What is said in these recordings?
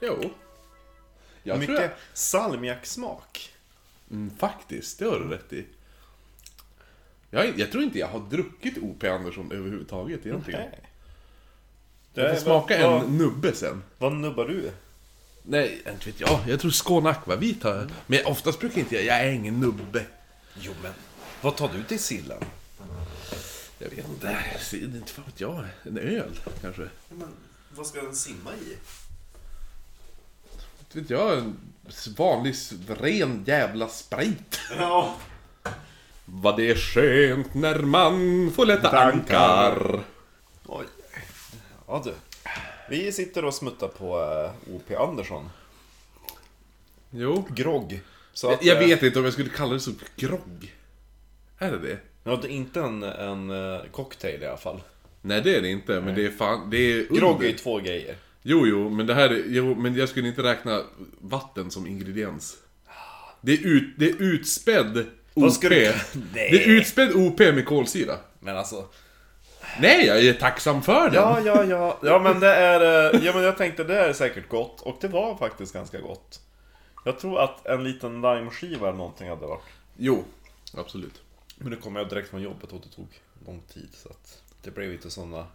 Jo. Jag Mycket tror jag, salmiaksmak. mm, Faktiskt, det har du rätt i. Jag, jag tror inte jag har druckit O.P. Andersson överhuvudtaget egentligen. Nej. Det Jag är- får smaka vad- en nubbe sen. Vad nubbar du? Nej, inte vet jag. Jag tror Skåne Akvavit har Mm. jag. Men oftast brukar inte jag... Jag är ingen nubbe. Jo men, vad tar du till sillen? Jag vet inte. Se, Inte fan vet jag. En öl, kanske. Men, vad ska den simma i? Inte vet jag. En vanlig s- ren jävla sprit. Ja. Vad det är skönt när man får lätta ankar. Oj. Ja du. Vi sitter och smuttar på eh, O.P. Andersson. Jo. Grogg. Så Jag, jag eh, vet inte om jag skulle kalla det så grogg. Är det det? Ja, det är inte en, en eh, cocktail i alla fall. Nej det är det inte, men det är fan... Det är under. Grogg är ju två grejer. Jo, jo, men det här är... Jo, men jag skulle inte räkna vatten som ingrediens. Det är, ut, det är utspädd Vad OP. ska du- Nej. Det är utspädd OP med kolsyra. Men alltså... Nej, jag är tacksam för den. Ja, ja, ja. Ja, men det är... eh, Ja, men jag tänkte det är säkert gott. Och det var faktiskt ganska gott. Jag tror att en liten limeskiva eller någonting hade varit. Jo, absolut. Men nu kom jag direkt från jobbet och det tog lång tid. Så att det blev inte sådana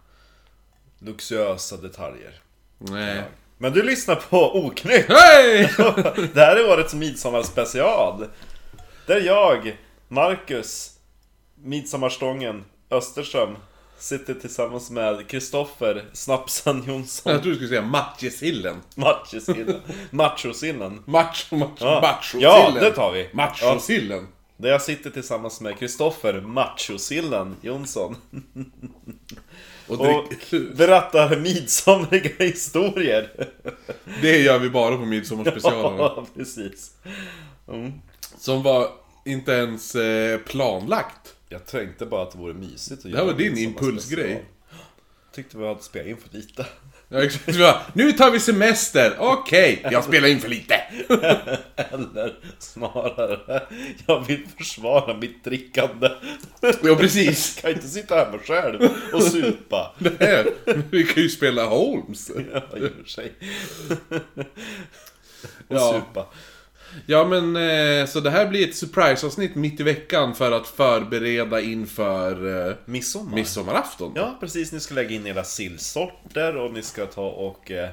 luxuösa detaljer. Nej. Men du lyssnar på Oknytt! Hej! det här är årets midsommarspecial. Där jag, Marcus, Midsommarstången, Österström, sitter tillsammans med Kristoffer Snapsen Jonsson, Jag tror du skulle säga matjessillen. Machosillen. Machosillen. Macho, macho, Ja. machosillen. Ja, det tar vi. Ja. Machosillen. Där jag sitter tillsammans med Kristoffer Machosillen Jonsson. Och Och drick... berättar midsomriga historier. Det gör vi bara på midsommarspecialen. Ja, precis. Mm. Som var inte ens eh, planlagt. Jag tänkte bara att det vore mysigt att Det här var din impulsgrej. Tyckte vi hade spelat in för lite. Ja, exakt. Vi bara, Nu tar vi semester! Okej, jag spelar in för lite! Eller snarare, jag vill försvara mitt drickande. Jag Ja, precis. kan inte sitta hemma själv och supa. Nej, men Vi kan ju spela Holmes. Ja, i och för sig. Och Ja. supa. Ja, men eh, så det här blir ett surprise-avsnitt mitt i veckan för att förbereda inför eh, Midsommar. midsommarafton. Ja, precis. Ni ska lägga in era sillsorter och ni ska ta och eh,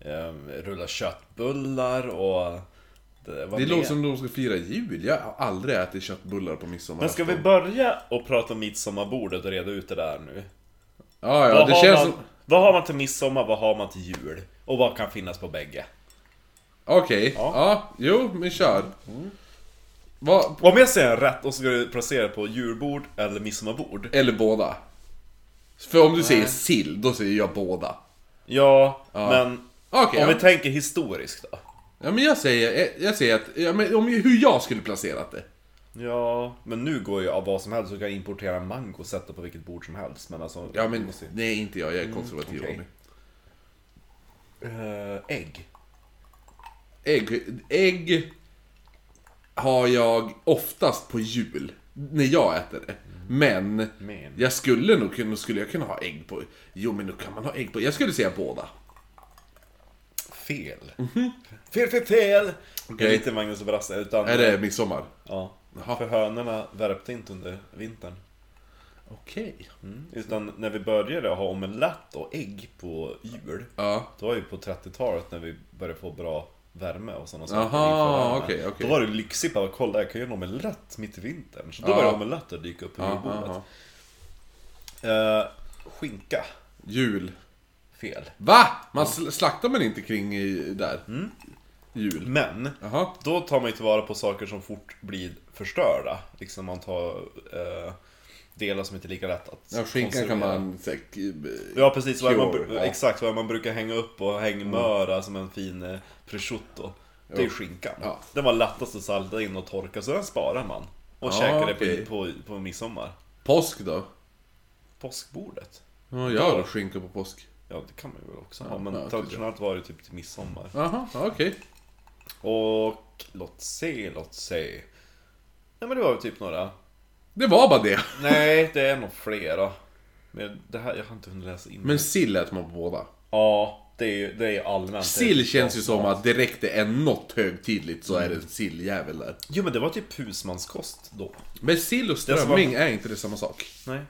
eh, rulla köttbullar och... Det, vad Det mer? låter som de ska fira jul. Jag har aldrig ätit köttbullar på Men midsommarafton. ska vi börja och prata om midsommarbordet och reda ut det där nu? Ja, ja, Vad, det har känns man, som... vad har man till midsommar, vad har man till jul? Och vad kan finnas på bägge? Okej, Ja. Mm. ja. jo, men kör. Vad- Om jag säger rätt och så ska du placera det på julbord eller midsommarbord? Eller båda. För om du säger sill, då säger jag båda. Ja, men... Okej, om ja. vi tänker historiskt då? Ja men jag säger, jag säger att, ja, men om hur jag skulle placerat det. Ja, men nu går ju av vad som helst så kan jag importera en mango och sätta på vilket bord som helst. Men alltså... Ja men, måste- nej inte jag, jag är konservativ Mm, okej. av mig. Eh, ägg. Ägg, ägg har jag oftast på jul, när jag äter det. Men, Mm. Men. jag skulle nog kunna, skulle jag kunna ha ägg på, jo men då kan man ha ägg på, jag skulle säga båda. Fel. Fel, fel, fel! Det är Mhm. Okej. Inte Magnus och Brasse, utan... Är det midsommar? Ja. Jaha. För hönorna värpte inte under vintern. Okej. Utan när vi började ha omelett och ägg på jul Ja. Det var ju på 30-talet när vi började få bra värme och sådana saker Aha, inför värme. okej, okej. Då var det lyxigt att kolla, jag kan göra en omelett mitt i vintern Så då Ja. började omeletter dyka upp på julbordet Aha. eh, Skinka, Jul. fel Va? Man sl- slaktar man inte kring i, där? Mm. Jul. Men Jaha. då tar man ju tillvara på saker som fort blir förstörda Liksom man tar eh, delar som inte är lika lätt att Ja, skinkan kan konservera. man eh, säkert... Ja precis, vad man, Cure, ja. Mm. exakt vad man brukar hänga upp och hängmöra som en fin eh, prosciutto Det är ju skinkan Ja. Den var lättast att salta in och torka så den sparar man Och Ja, käkar det okej. på, på, på midsommar Påsk då? Påskbordet? Ja, jag har skinka på påsk. Ja det kan man väl också ha men ja, traditionellt var det typ till midsommar Jaha, ja, okej. Och låt se, låt se Nej men det var väl typ några Det var bara det. Nej det är nog flera Men det här, jag har inte hunnit läsa in Men sill äter man på båda. Ja det är ju det är ju allmänt. Sill känns ju som att direkt det är något högtidligt så är Mm. det en silljävel där. Jo men det var typ husmanskost då. Men sill och är som strömming är inte det samma sak. Nej.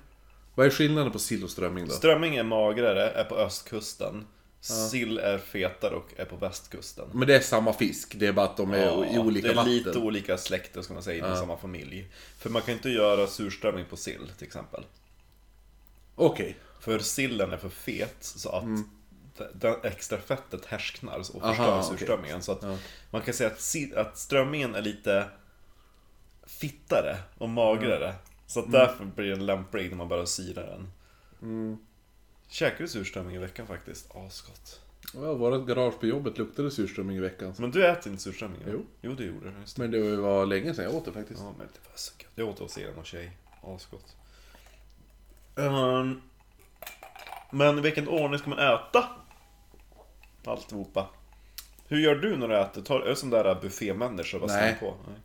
Vad är skillnaden på sill och strömming då? Strömming är magrare, är på östkusten. Sill är fetare och är på västkusten. Men det är samma fisk, det är bara att de är i olika det är vatten. lite olika släkter ska man säga, inom samma familj. För man kan inte göra surströmming på sill till exempel. Okej. För sillen är för fet så att d- det extra fettet härsknar och förstör Mm. Aha, okej. surströmmingen. Så att man kan säga att, si- att strömmingen är lite fittare och magrare. Mm. Så att därför blir den lämplig när man börjar syra den. Mm. Käkar du surströmming i veckan faktiskt? Asgott. Ja, vårt garage på jobbet luktade surströmming i veckan. Men du äter inte surströmming? va? Jo. Jo, det gjorde du. Just det. Men det var länge sedan jag åt det faktiskt. Ja, men det var så gött. Jag åt hos er och tjej. Asgott. Ehm, men i vilken ordning ska man äta? Alltihopa. Hur gör du när du äter? Tar, är du sån där buffémänniska? Vad Nej. Nej. På? Nej.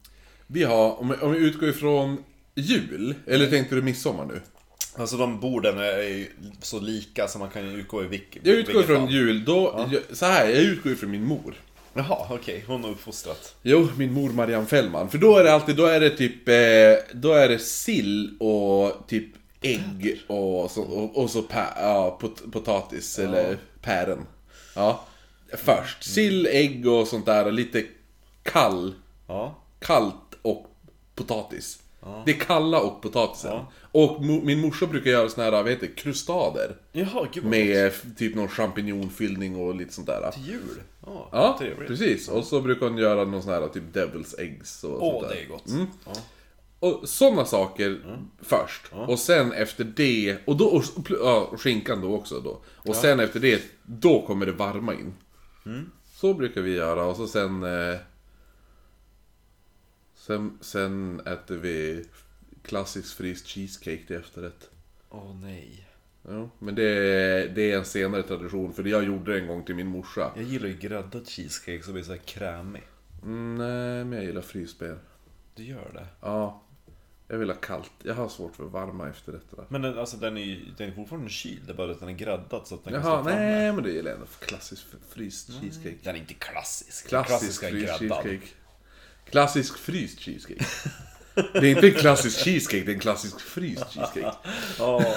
Vi har, om vi, om vi utgår ifrån jul, eller tänkte du midsommar nu? Alltså de borden är ju så lika så man kan ju utgå i vilket Jag utgår vilket ifrån fall. jul, då, jag, så här, jag utgår ifrån min mor. Jaha, okej. Hon har uppfostrat. Jo, min mor Marianne Fällman. För då är det alltid, då är det typ, eh, då är det sill och typ ägg och så, och, och så pa, ja, pot, potatis eller pären. Ja, först. Sill, Mm. ägg och sånt där, och lite kall, Ja. kallt och potatis. Det är kalla och potatisen. Och mo, min morsa brukar göra såna här, vad heter det, krustader. Jaha, gud vad gott. Med eh, typ någon champinjonfyllning och lite sånt där. Jul. Ja, Ja, trevligt. precis. Och så brukar hon göra någon sån här typ devil's eggs och Åh, sånt där. det är Mm. gott. Mm. Ja. Och sådana saker först. Och sen efter det, och då, och, pl- ja, och skinkan då också då. Och sen efter det, då kommer det varma in. Mm. Så brukar vi göra och så sen... Eh, sen, sen äter vi klassisk fryst cheesecake till efterrätt. Åh nej. Ja, men det, det är en senare tradition, för jag gjorde det en gång till min morsa. Jag gillar ju gräddad cheesecake som blir så här krämig. Mm, nej, men jag gillar frysben. Du gör det? Ja. Jag vill ha kallt. Jag har svårt för varma efterrätterna. Men den, alltså den är ju den är fortfarande kyld, det är bara att den är gräddad så att den Jaha, kan stå framme. nej men det gillar jag ändå. Klassisk f- fryst cheesecake. Den är inte klassisk. Den Klassisk klassiska är fryst gräddad. cheesecake. Klassisk fryst cheesecake. Det är inte en klassisk cheesecake, det är en klassisk fryst cheesecake. Ja.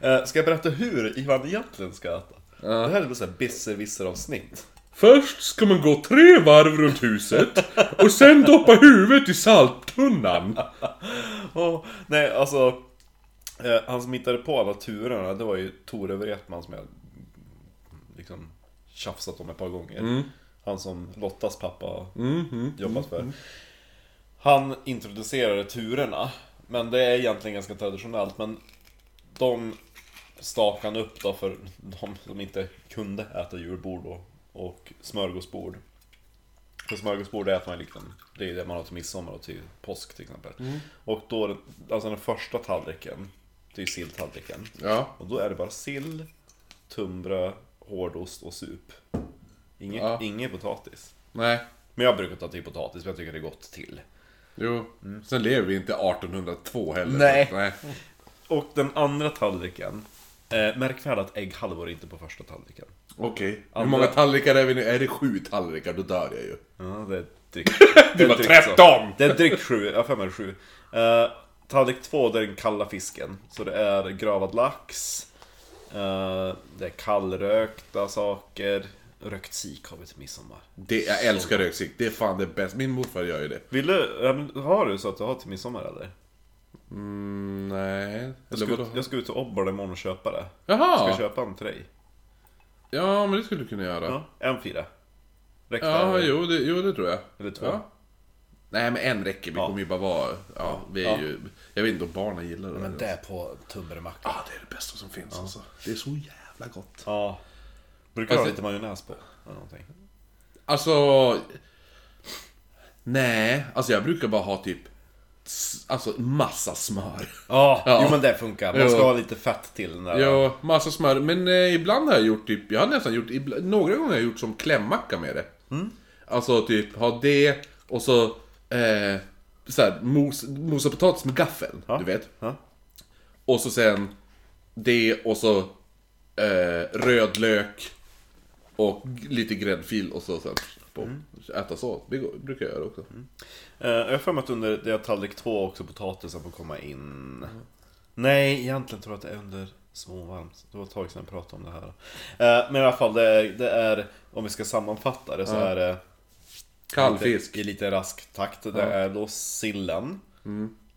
Eh, Ska jag berätta hur Ivan egentligen ska äta? Det här är ett besserwisser-avsnitt. Först ska man gå tre varv runt huset och sen doppa huvudet i salttunnan. Åh, nej, alltså... eh, Han som hittade på alla turerna, det var ju Tore Wretman som jag liksom tjafsat om ett par gånger. Han som Lottas pappa jobbat för. Han introducerade turerna, men det är egentligen ganska traditionellt. Men de stakade han upp då för de som inte kunde äta julbord och, och smörgåsbord. För smörgåsbord äter man ju liksom, det är ju det man har till midsommar och till påsk till exempel. Och då, alltså den första tallriken, det är ju silltallriken. Ja. Och då är det bara sill, tunnbröd, hårdost och sup. Inge, Ja. Ingen potatis. Nej. Men jag brukar ta till potatis för jag tycker det är gott till. Jo. Mm. Sen lever vi inte 1802 heller. Nej. Nej. Och den andra tallriken. Eh, märk väl att ägghalvor är inte på första tallriken. Okej. Hur Andra- många tallrikar är vi nu? Är det sju tallrikar, då dör jag ju. Ja, det är dryck. Du det är var dryck så. 13! Det är drygt sju, jag har för mig det är sju. Eh, tallrik två, det är den kalla fisken. Så det är gravad lax. eh, det är kallrökta saker. Rökt sik har vi till midsommar. Det, jag älskar röksik, det är fan det bästa. Min morfar gör ju det. Vill du, ja, men har du så att du har till midsommar eller? Mm, nej. Jag Eller ska, vadå? ut, jag ska ut till Obbola imorgon och köpa det. Ska jag Jaha! köpa en till dig? Ja, men det skulle du kunna göra. Ja. En fyra. Räcker Ja, det? jo det, jo, det tror jag. Eller två? Ja. Nej, men en räcker. Vi Ja. kommer ju bara vara... Ja, vi är Ja. ju... Jag vet inte om barnen gillar det. Men där. det är på tunnbrödsmacka. Ja, det är det bästa som finns alltså. Det är så jävla gott. Ja. Brukar du ha Fast lite majonnäs på? Eller någonting. Alltså... Nej, alltså jag brukar bara ha typ... s- Alltså massa smör. Ja, Ja. jo men det funkar. Man Jo. ska ha lite fett till den där. Ja, massa smör. Men eh, ibland har jag gjort typ, jag har nästan gjort, ibla- några gånger har jag gjort som klämmacka med det. Alltså typ ha det och så, eh, så här, mos, mosa potatis med gaffeln, du vet. Ja. Och så sen det och så eh, röd lök och lite gräddfil och så sen på. Äta så, det går- brukar jag göra också. Eh, Jag har för mig att under det är tallrik två också potatisen får komma in. Nej, egentligen tror jag att det är under småvarmt. Det var ett tag sedan jag pratade om det här. Eh, Men i alla fall, det är, det är om vi ska sammanfatta det så är det Kall lite- fisk. i lite rask takt. Det är då sillen.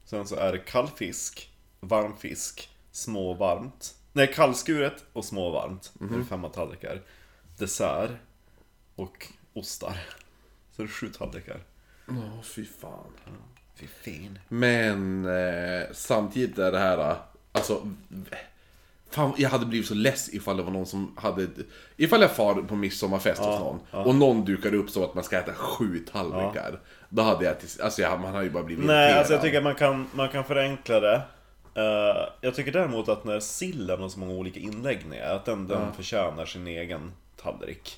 Sen så är det kall fisk, varm fisk, småvarmt. Nej, kallskuret och småvarmt. Det är femma tallrikar. Dessert och ostar. Så det är sju tallrikar. Ja, fy fan. Fy fin. Men eh, samtidigt är det här, eh, alltså... Fan, jag hade blivit så less ifall det var någon som hade... Ifall jag far på midsommarfest hos någon och någon dukar upp så att man ska äta sju tallrikar. Då hade jag... tills- Alltså jag, man hade ju bara blivit Nej, irriterad. alltså jag tycker att man kan, man kan förenkla det. Eh, jag tycker däremot att när sillen har så många olika inläggningar, att den, den förtjänar sin egen tallrik.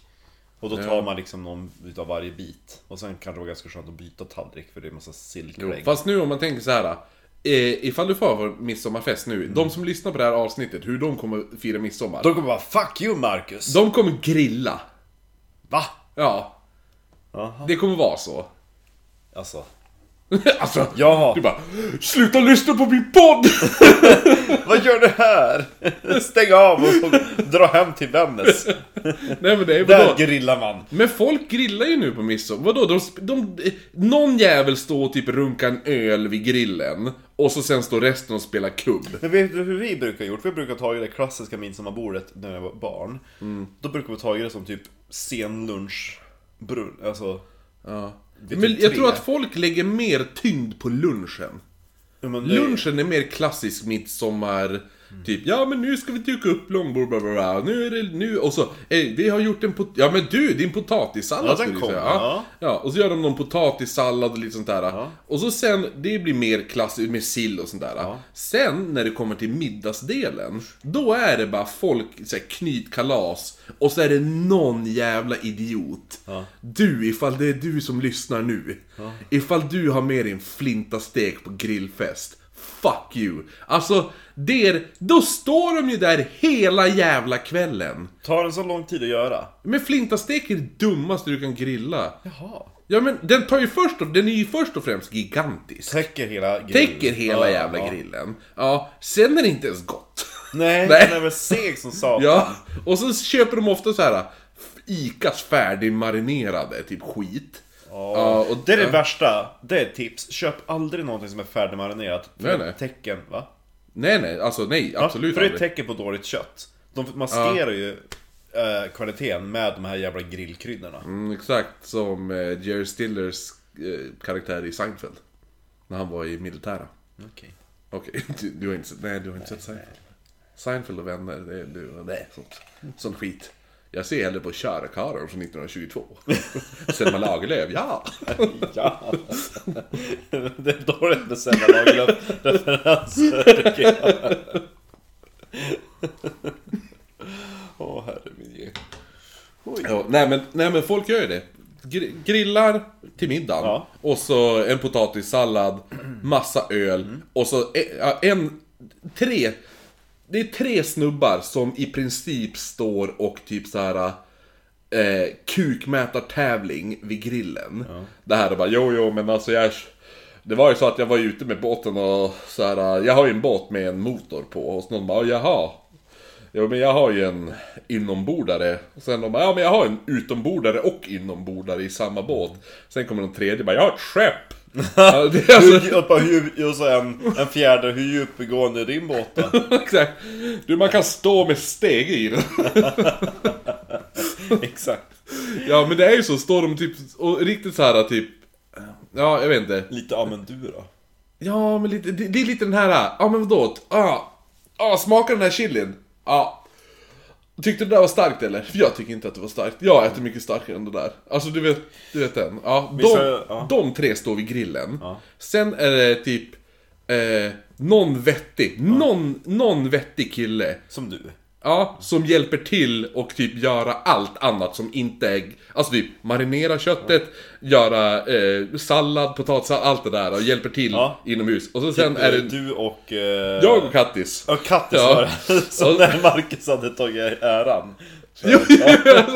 Och då tar man liksom någon utav varje bit. Och sen kan det vara ganska skönt att byta tallrik för det är en massa Jo, silkregn. fast nu om man tänker så här. Eh, ifall du far på midsommarfest Mm. nu, de som lyssnar på det här avsnittet, hur de kommer fira midsommar. De kommer bara 'Fuck you Marcus!' De kommer grilla. Va? Ja, Jaha. det kommer vara så. Alltså, alltså, jaha. du bara Sluta lyssna på min podd! Vad gör du här? Stäng av och, och dra hem till Vännäs. Nej men det är Där vadå? grillar man. Men folk grillar ju nu på midsommar. Vadå? De, sp- de, eh, någon jävel står och typ runkar en öl vid grillen. Och så sen står resten och spelar kubb. Men vet du hur vi brukar gjort? Vi brukar ta det klassiska midsommarbordet när jag var barn. Mm. Då brukar vi ta det som typ sen lunch, brun, alltså... Ja. Det är Men typ jag tre. tror att folk lägger mer tyngd på lunchen. Ja, men det- Lunchen är mer klassisk midsommar. Mm. Typ, ja men nu ska vi duka upp långbord, bla, bla, bla. nu är det nu, och så, "Ey, vi har gjort en pot- ja men du, din potatissallad Ja, den skulle du kom, säga. ja. ja, och så gör de någon potatissallad och lite sånt där. Och så sen, det blir mer klassiskt med sill och sånt där. Sen när det kommer till middagsdelen, då är det bara folk, så här, knytkalas, och så är det någon jävla idiot. Du, ifall det är du som lyssnar nu. Ifall du har med dig en flintastek på grillfest. Fuck you! Alltså, det är, då står de ju där hela jävla kvällen. Tar den så lång tid att göra? Men flintastek är det dummaste du kan grilla. Jaha. Ja men den tar ju först och, den är ju först och främst gigantisk. Täcker hela grillen? Täcker hela Ja, jävla ja. grillen. Ja, sen är det inte ens gott. Nej, Nej. den är väl seg som satan. Ja, och så köper de ofta så här Icas färdigmarinerade typ skit. Ja, och Det är det värsta, det är ett tips. Köp aldrig någonting som är färdigmarinerat. För Nej, det är nej. ett tecken, va? Nej, nej, alltså nej, absolut För det är ett aldrig. tecken på dåligt kött. De maskerar ju eh, kvaliteten med de här jävla grillkryddorna. Mm, exakt som eh, Jerry Stillers eh, karaktär i Seinfeld. När han var i militära. Okej. Okej, du, du har inte sett, nej, du har inte sett Seinfeld. Seinfeld och vänner, det är du och nej, sånt, sånt skit. Jag ser hellre på Körkarlen från 1922. Selma Lagerlöf, ja! Ja. Det är dåligt med Selma Lagerlöf-referenser tycker jag. Åh herre min ge. Ja, nej, men, nej men folk gör ju det. Gr- Grillar till middagen Ja. och så en potatissallad, massa öl och så e- ja, en, tre, det är tre snubbar som i princip står och typ så här eh, kukmätartävling vid grillen. Det här är bara, jo jo men alltså jag... Det var ju så att jag var ute med båten och så här, eh, jag har ju en båt med en motor på och så någon bara, jaha. Jo men jag har ju en inombordare. Och sen de bara, ja men jag har en utombordare och inombordare i samma båt. Sen kommer de tredje och bara, jag har ett skepp! Ja, det är alltså- Hur- och bara hur- Och så en, en fjärde, hur djup går ni i din båt då? Exakt. Du man kan stå med steg i den. Exakt. Ja men det är ju så, står de typ och riktigt så här typ Ja, jag vet inte. Lite amendura. Ja, men lite, det, det är lite den här, äh, ja men vadå? Ja, ja smakar den här chilin? Ja. Tyckte du det där var starkt eller? Jag tycker inte att det var starkt. Jag äter mycket starkare än det där. Alltså du vet, du vet den. Ja, de, Vissa- ja. de tre står vid grillen. Sen är det typ eh, någon vettig, någon, någon vettig kille. Som du. Ja, som hjälper till och typ göra allt annat som inte är... Alltså typ marinera köttet, göra eh, sallad, potatis, allt det där och hjälper till Ja. inomhus. Och så sen är det Du och... Eh, jag och Kattis. Ja, Kattis Ja. var det. Som när Marcus hade tagit äran. Jo, jo,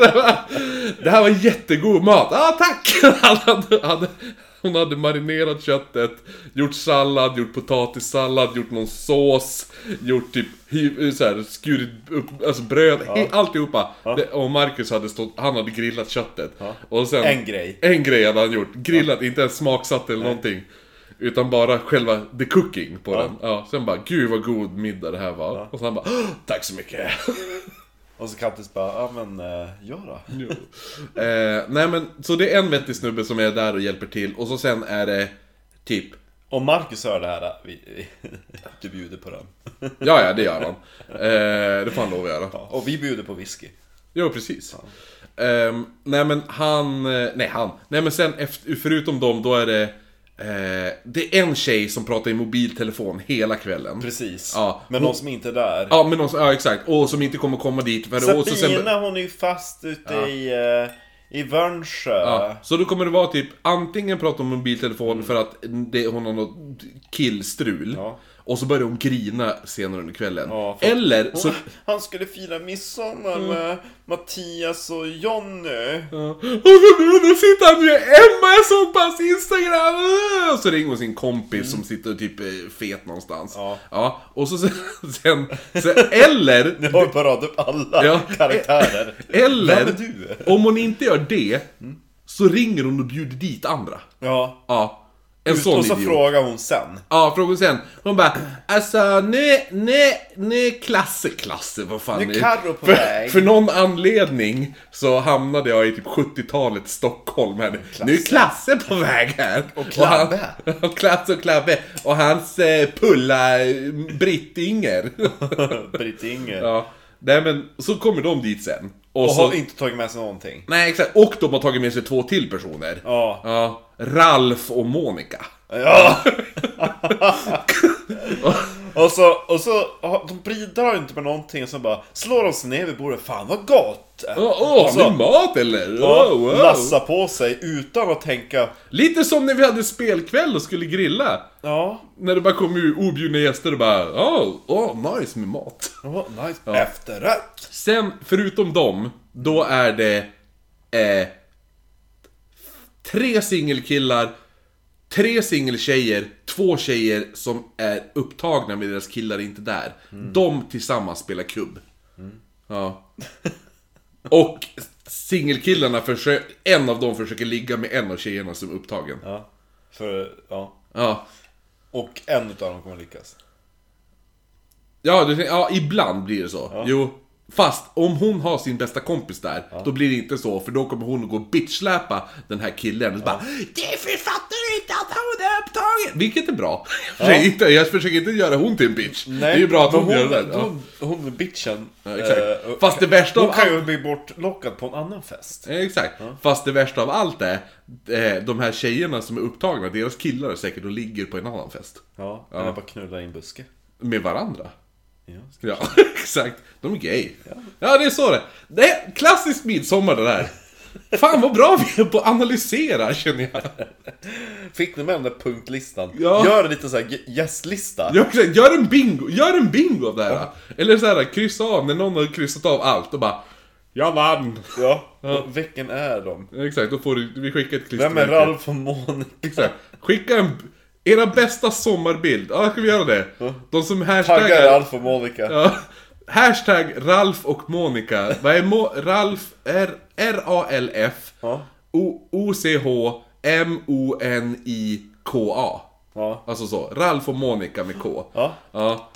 det här var jättegod mat. Ah, tack! Han hade, hade, hon hade marinerat köttet, gjort sallad, gjort potatissallad, gjort någon sås, gjort typ hy- så här, skurit upp alltså bröd, ja. alltihopa. Det, och Marcus hade stått, han hade grillat köttet. Och sen, En grej. En grej hade han gjort. Grillat, inte ens smaksatt eller någonting. Utan bara själva the cooking på den. Ja, sen bara, gud vad god middag det här var. Och sen bara, "Åh, tack så mycket. Och så Kattis bara, ja men, eh, jag då? Eh, nej men, så det är en vettig snubbe som är där och hjälper till och så sen är det typ Om Marcus hör det här, eh, vi, du bjuder på den. Ja, ja, det gör han. Eh, det får han lov att göra. Ja, Och vi bjuder på whisky. Jo, precis. Ehm, nej men han, eh, nej han, nej men sen efter, förutom dem då är det eh, Det är en tjej som pratar i mobiltelefon hela kvällen. Precis. Ja. Men någon som inte är där. Ja, men någon, som- ja exakt, och som inte kommer komma dit. För, och så sen, Sabina hon är ju fast ute i, eh, i Värnsjö. Ja, så då kommer det vara typ antingen prata om mobiltelefon för att det, hon har något killstrul. Mm. Ja. Och så börjar hon grina senare under kvällen. Ja, för- Eller så... Mm. Han skulle fira midsommar med Mattias och Jonny. Ja. Och så nu, nu sitter han med Emma, jag såg på hans Instagram! Och så ringer hon sin kompis som sitter typ eh, fet någonstans. Mm. Ja. och så sen... sen, sen eller... Nu har vi bara radat upp alla Ja. karaktärer. Eller... Vem är du? Mm. Om hon inte gör det, så ringer hon och bjuder dit andra. Ja. Ja. En sån och så idiot. frågar hon sen. Ja, frågade sen. Hon bara alltså nu, nu, nu klasse, klasse, vad fan Nu är Karo på för, väg. För någon anledning så hamnade jag i typ 70-talets Stockholm här. Nu är Klasse på väg här. Och Klabbe. Och, han, och Klasse och Klabbe. Och hans eh, pulla eh, Brittinger. Britt Inger. ja. Nej men, så kommer de dit sen. Och, Och så, har inte tagit med sig någonting. Nej exakt, och de har tagit med sig två till personer. Ja. Ja, Ralf och Monica. Ja! och så, och så har- de bidrar inte med någonting och så bara slår de sig ner vid bordet. Fan vad gott! Åh, åh, Och har så- ni mat eller? Ja, Åh, Oh, wow. Lassa på sig utan att tänka Lite som när vi hade spelkväll och skulle grilla. Ja, När det bara kom ju objudna gäster och bara åh, åh, nice med mat. oh, nice. Efterrätt! Sen, förutom dem, då är det eh, tre singelkillar, tre singeltjejer, två tjejer som är upptagna med deras killar är inte där. De tillsammans spelar kubb. Ja. Och singelkillarna, försö- en av dem försöker ligga med en av tjejerna som är upptagen. Ja, för, ja. Ja. Och en utav dem kommer lyckas. Ja, du, tänker- ja ibland blir det så. Jo. Fast om hon har sin bästa kompis där, då blir det inte så, för då kommer hon att gå och bitchsläpa den här killen. Och bara Jeffrey fattar inte att hon är upptagen! Vilket är bra. Jag, inte, jag försöker inte göra hon till en bitch. det är ju bra att men hon, gör det. hon, Ja. hon, hon är bitchen. Ja, exakt. eh, och- Fast det värsta Hon av kan allt... ju bli bortlockad på en annan fest. Eh, Exakt. Fast det värsta av allt är, eh, de här tjejerna som är upptagna, deras killar är säkert och ligger på en annan fest. Ja, eller bara knulla i en buske. Med varandra. Ja. Ja, exakt. De är gay. Ja. det är så det Det är klassisk midsommar det där. Fan vad bra vi är på att analysera känner jag. Fick ni med den där punktlistan? Ja. Gör en liten sån här gästlista. jag också, gör en bingo, gör en bingo av det här. Eller så här, kryssa av när någon har kryssat av allt och bara Jag vann! Ja. Och Vilken är de? Exakt, då får du, vi skickar ett klistermärke. Vem är Ralf och Monica? Exakt. Skicka en, era bästa sommarbild. Ja, ska vi göra det? De som Taggar hashtaggar... Ralf och Monica. Ja. Hashtag Ralf och Monica. Vad är Mo- Ralf? R- R-A-L-F. Ja. O- O-C-H-M-O-N-I-K-A. Ja. Alltså så. Ralf och Monica med K. Ja. Ja.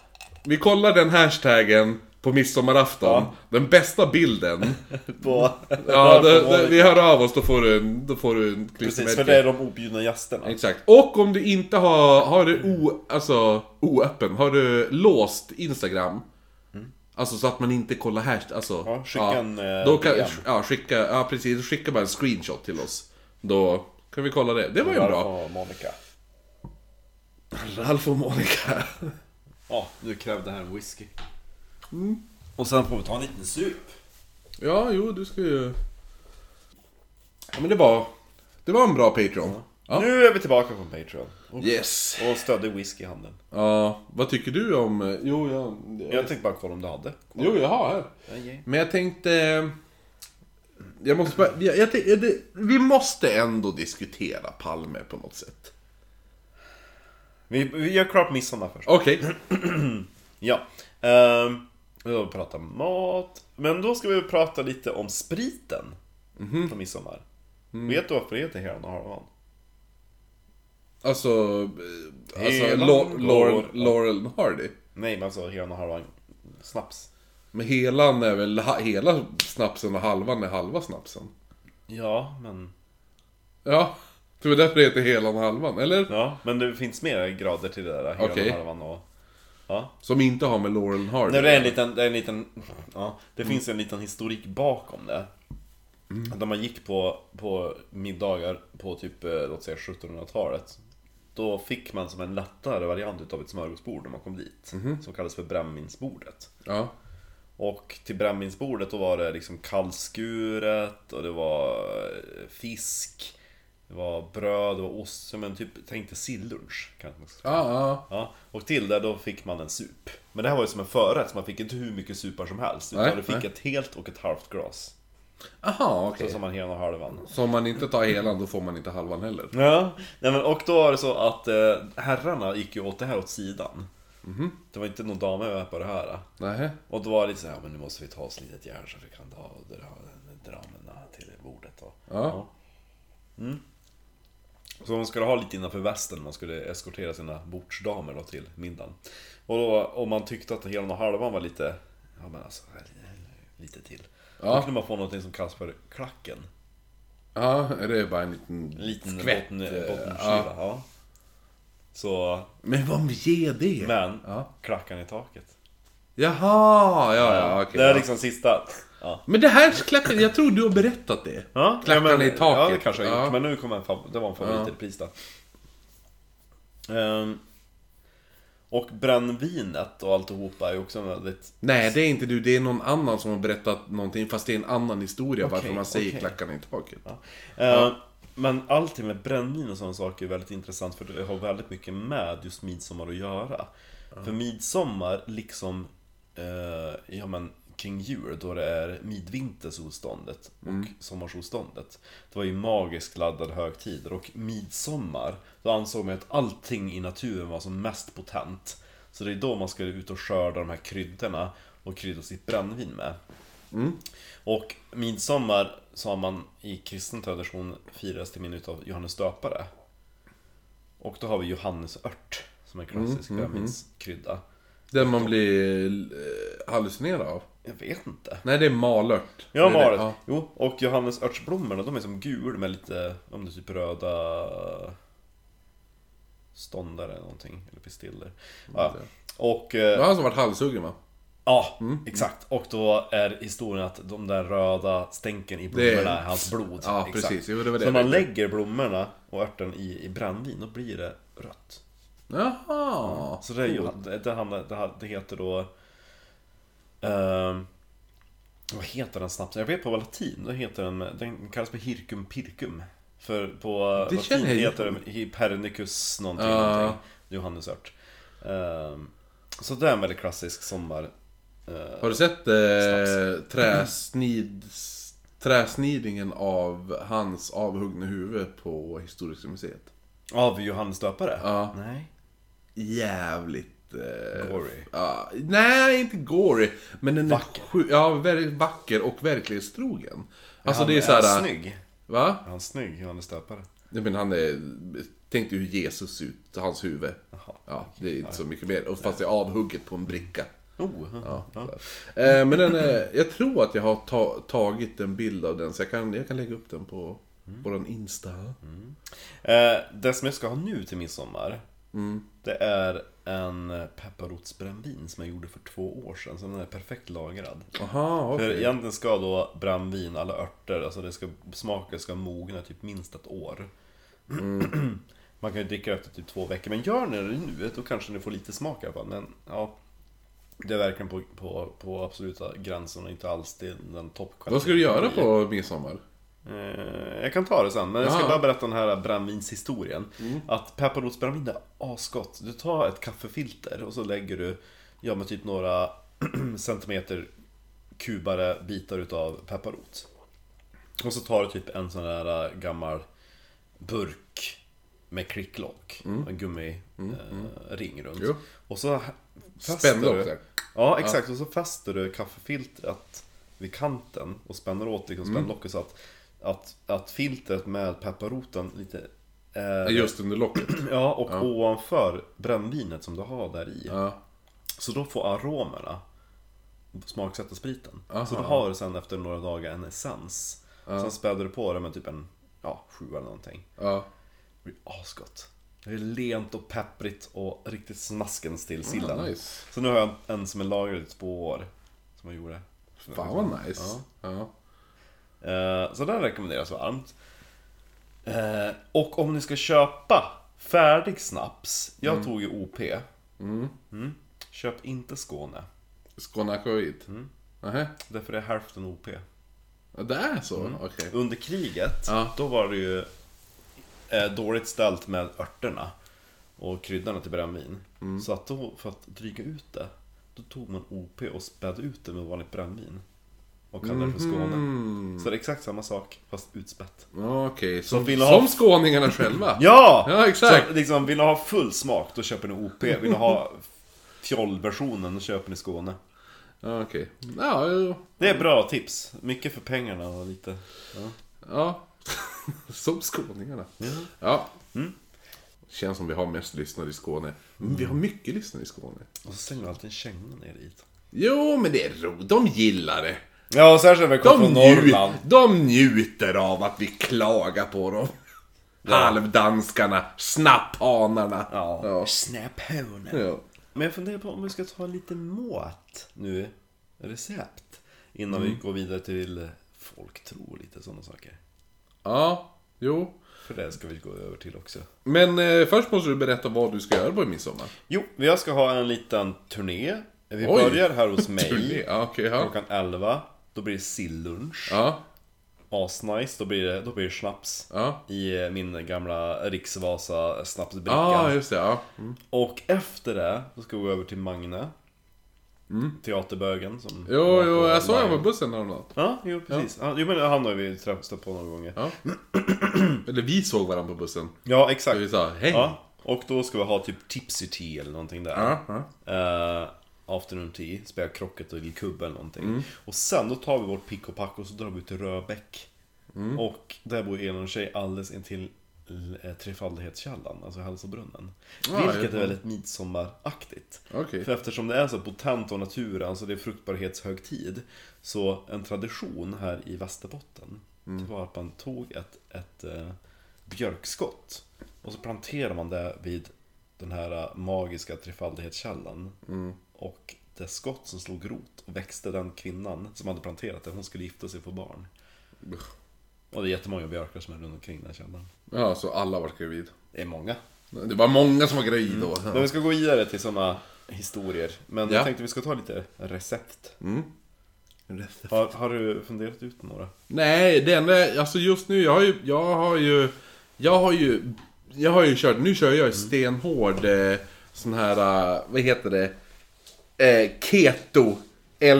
Vi kollar den hashtaggen på midsommarafton. Den bästa bilden. På Ja, Ralf och det, det, Monica. vi hör av oss, då får du en, då får du en Precis, för det är klistermärke. de objudna gästerna. Exakt. Och om du inte har, har du o, alltså, oöppen, har du låst Instagram? Alltså så att man inte kollar hashtag, alltså. Ja, skicka en, eh, då kan, DM. ja, skicka, ja precis, skicka bara en screenshot till oss. Då kan vi kolla det. Det var ju Ralf bra. och Monica. Ralf och Monica. Ja, nu krävde här en whisky. Och sen får vi ta en liten sup. Ja, jo, du ska ju... Ja, men det var... Det var en bra Patreon. Ja. Nu är vi tillbaka från Patreon. Och, Yes! och stödde whiskyhandeln. Ja, vad tycker du om... eh, Jo, jag... Jag tänkte bara kolla om du hade. Jo, jag har här. Okej. Men jag tänkte... Jag måste bara, jag, jag tänkte, det, Vi måste ändå diskutera Palme på något sätt. Vi, vi gör klart midsommar först. Okej. Ja. Ehm, vi har pratat mat. Men då ska vi prata lite om spriten. På midsommar. Vet du varför det heter Heron och Harvan? Alltså... eh, alltså Hela Lau- Laurel, Laurel- Laurel and Hardy. Nej, men alltså Heron och Harvan snaps. Men helan är väl... ha- Hela snapsen och halvan är halva snapsen. Ja, men... Ja. Det var därför det heter helan och halvan, eller? Ja, men det finns mer grader till det där. Heron Okej. och Harvan och... Ja. Som inte har med Laurel and Hardy Nej, det är en liten, det är en liten, ja, det finns en liten historik bakom det. Att när man gick på, på middagar på typ, eh, låt säga 1700-talet. Då fick man som en lättare variant utav ett smörgåsbord när man kom dit. Som kallades för brännvinsbordet. Ja. Och till brännvinsbordet då var det liksom kallskuret och det var eh, fisk. Det var bröd, det var ost, Ja, men typ, tänk dig sillunch. Kanske man ska Ja, ja. Ja, och till det då fick man en sup. Men det här var ju som en förrätt, så man fick inte hur mycket supar som helst. Utan Nej, du fick nej. ett helt och ett halvt glas. Aha, okej. Så Mm. som man hela och halvan. Så om man inte tar helan, då får man inte halvan heller. Ja, nej men, och då var det så att eh, herrarna gick ju åt det här åt sidan. Mhm. Det var inte någon damer med på det här. Nej. Och då var det lite så här, "Ja, men nu måste vi ta oss litet järn så vi kan dra, dra, dra med till bordet. Och, Ja. Så de skulle ha lite innanför västen när man skulle eskortera sina bordsdamer då till middagen. Och då, om man tyckte att hela och halvan var lite, ja men alltså, lite till. Ja. Då kunde man få någonting som kallas för klacken. Ja, det är bara en liten... En liten Skvätt, botten, eh, bottenskiva. ja. Ja. Så, Men vad ger det? men, Ja. klackan i taket. Jaha, ja, ja, okej. det är liksom sista... Ja. Men det här klacken, jag tror du har berättat det. Ja, Klackarna ja, men- i taket. Ja, det kanske jag har gjort. Ja. Men nu kom en fav- det var en favoritpris då. Ehm, och brännvinet och alltihopa är ju också en väldigt... Nej, det är inte du. Det är någon annan som har berättat någonting, fast det är en annan historia varför Okej, man säger okej. klackarna i taket. Ja. Ehm, Men allting med brännvin och sådana saker är väldigt intressant för det har väldigt mycket med just midsommar att göra. För midsommar, liksom eh, ja, men, kring jul, då det är midvintersolståndet och sommarsolståndet. Det var ju magiskt laddade högtider och midsommar, då ansåg man att allting i naturen var som mest potent. Så det är då man skulle ut och skörda de här kryddorna och krydda sitt brännvin med. Och midsommar, sa man i kristen tradition, firas till minne av Johannes döpare. Och då har vi Johannesört, som är en klassisk brännvinskrydda. Den man blir eh, hallucinerad av. Jag vet inte. Nej, det är malört. Ja, Det är det. Marit. Jo, och Johannesörtsblommorna, de är som gul med lite, om det är typ röda ståndare eller någonting, eller pistiller. Ja. Och... eh, Det var han som vart halshuggen va? Ja, Mm. exakt. Och då är historien att de där röda stänken i blommorna Det är- är... hans blod. Ja, exakt. precis. Jo, det var det Så jag när man lägger blommorna och örten i, i brännvin, då blir det rött. Jaha. Så det, är ju, det, det, hamnar, det, ha- det heter då... ehm, vad heter den snapsen? Jag vet på vad latin, då heter den, den kallas för Hircum Pircum. För på Det latin känner jag Ah. ju. heter den Hipernicus någonting, Ja. någonting. Johannesört. Ehm, så det är en väldigt klassisk sommar... eh, Har du sett eh, träsnids, träsnidningen av hans avhuggna huvud på Historiska museet? Av Johannes Döpare? Ja. Nej. jävligt... Eh, Gory. ja, nej, inte gory. Men den Vacker. är sju, ja, väldigt vacker och verklighetstrogen. Alltså det är han såhär... snygg. Va? Är han snygg, Johannes Döpare? Nej, men han är... Tänk dig hur Jesus ser ut, hans huvud. Jaha. Ja, det är inte så mycket mer. Och fast det är avhugget på en bricka. Oh. Ja, sådär. Eh, men den, är- jag tror att jag har ta, tagit en bild av den, så jag kan, jag kan lägga upp den på Mm. våran Insta. Eh, det som jag ska ha nu till midsommar, Mm. det är en pepparrotsbrännvin som jag gjorde för två år sedan, så den är perfekt lagrad. Aha, okej. För egentligen ska då brännvin, alla örter, alltså det ska, smaken ska mogna typ minst ett år. Man kan ju dricka det efter typ två veckor, men gör ni det nu, då kanske ni får lite smak i alla fall. Men ja, det är verkligen på, på, på absoluta gränsen och inte alls till den toppkvaliteten. Vad ska du göra på midsommar? Eh, Jag kan ta det sen, men jag ska Ja. Mm. bara berätta den här brännvinshistorien. Att pepparrotsbrännvin är asgott. Du tar ett kaffefilter och så lägger du, ja men typ några centimeter kubare bitar utav pepparrot. Och så tar du typ en sån där äh, gammal burk med klicklock, en gummiring runt. Mm. Jo. Och så fäster Spände du- upp där. Ja, exakt. Och så fäster du kaffefiltret vid kanten och spänner åt liksom spännlocket så att, att, att filtret med pepparroten lite... är- Just under locket. Ja, och ovanför brännvinet som du har där i. Ja. Så då får aromerna smaksätta spriten. Så då har du sen efter några dagar en essens. Sen späder du på det med typ en, ja, sju eller någonting. Ja. Det blir asgott. Det är lent och pepprigt och riktigt snaskens till sillen. Ja, Ah, nice. Så nu har jag en som är lagrad i två år. Som jag gjorde. Fan vad nice. Ja. Eh, Så den rekommenderas varmt. Eh, Och om ni ska köpa färdig snaps. Jag tog ju OP. Mm. Köp inte Skåne. Skånakoid. Mm. Nähä. Därför är hälften OP. Ja, Det är så? Mm. Okej. Under kriget, Ja. då var det ju eh, dåligt ställt med örterna och kryddorna till brännvin. Så att då, för att dryga ut det, då tog man OP och spädde ut det med vanligt brännvin. Och kallade det för Skåne. Så det är exakt samma sak, fast utspätt. Ja, Okej, som, vill som du ha- skåningarna själva. Ja! Ja, exakt. Så liksom, vill ni ha full smak, då köper ni OP. Vill ni ha fjollversionen, då köper ni Skåne. Ja, okej. Ja, jo. Det är bra tips. Mycket för pengarna och lite... ja. som skåningarna. Ja. Mm. Känns som vi har mest lyssnare i Skåne. Men Mm. vi har mycket lyssnare i Skåne. Och så slänger vi alltid en känga ner i det. Jo, men det är roligt. De gillar det. Ja, och särskilt när vi kommer De, från nju- Norrland. de njuter av att vi klagar på dem. Halvdanskarna, snapphanarna. Ja. Snapphone. Ja. Men jag funderar på om vi ska ta lite mått nu. Recept. Innan Mm. vi går vidare till folktro och lite sådana saker. ja, jo. För det ska vi gå över till också. Men eh, först måste du berätta vad du ska göra på midsommar. Jo, jag ska ha en liten turné. Vi Oj. börjar här hos Turné, mig. ja, okej, ja. Klockan 11. Då blir det sillunch. Ja, Asnice. Då blir det, då blir det snaps. ja. I eh, min gamla Riksvasa snapsbricka. Ja, just det. Ja. Mm. Och efter det, då ska vi gå över till Magne. Teaterbögen som... Mm. Jo, var jo, på jag såg honom Magne. på bussen häromdagen. Ja, jo precis. Ja. Jo men han har vi träff- stött på några gånger. Ja, Ja. Eller vi såg varandra på bussen. exakt. Vi sa hej. Ja. Och då ska vi ha typ Tipsy Tea eller någonting där. Ja, ja. Eh, afternoon Tea, spela krocket och lillkubbe eller någonting. Och sen då tar vi vårt pick och pack och så drar vi till Röbäck. Och där bor en tjej alldeles intill eh, Trefaldighetskällan, alltså hälsobrunnen. Ja, Vilket ja. är väldigt midsommaraktigt. Okej. För eftersom det är så potent av naturen, så det är fruktbarhetshögtid, så en tradition här i Västerbotten det var att man tog ett, ett eh, björkskott och så planterade man det vid den här eh, magiska trefaldighetskällan. Och det skott som slog rot växte den kvinnan som hade planterat det, hon skulle gifta sig och få barn. Och det är jättemånga björkar som är runt omkring den här källan. Ja, så alla var gravid. Det är många. Det var många som var gravid då. Men vi ska gå vidare till sådana historier. Men Ja. jag tänkte vi ska ta lite recept. Har, har du funderat ut några? Nej, det enda, alltså just nu, jag har ju, jag har ju, jag har ju, jag har ju kört, nu kör jag ju stenhård eh, sån här, eh, vad heter det, eh, keto,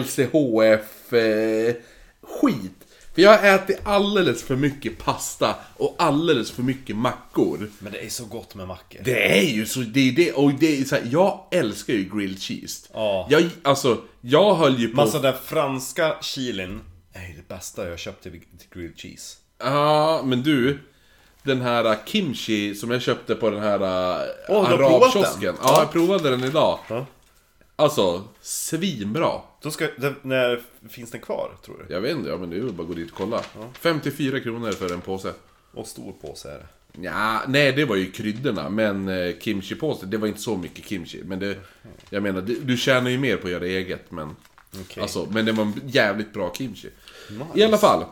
LCHF, eh, skit. För jag har ätit alldeles för mycket pasta och alldeles för mycket mackor. Men det är så gott med mackor. Det är ju så, det är det, och det är så här, jag älskar ju grilled cheese. Ja. Jag, alltså, jag höll ju på... Massa alltså den franska chilin är ju det bästa jag köpte vid- till grilled cheese. Ja, men du. Den här äh, kimchi som jag köpte på den här äh, Åh, du har provat arabkiosken. den? Ja, jag provade den idag. Ja. Alltså, svinbra. Då ska, det, när finns den kvar, tror du? Jag vet inte, ja, men det är väl bara att gå dit och kolla. 54 kronor för en påse. Och stor påse är det. Ja, nej, det var ju kryddorna, men eh, kimchi-påse, det var inte så mycket kimchi. Men det, jag menar, du, du tjänar ju mer på att göra eget, men... Okej. Alltså, men det var en jävligt bra kimchi. I alla fall.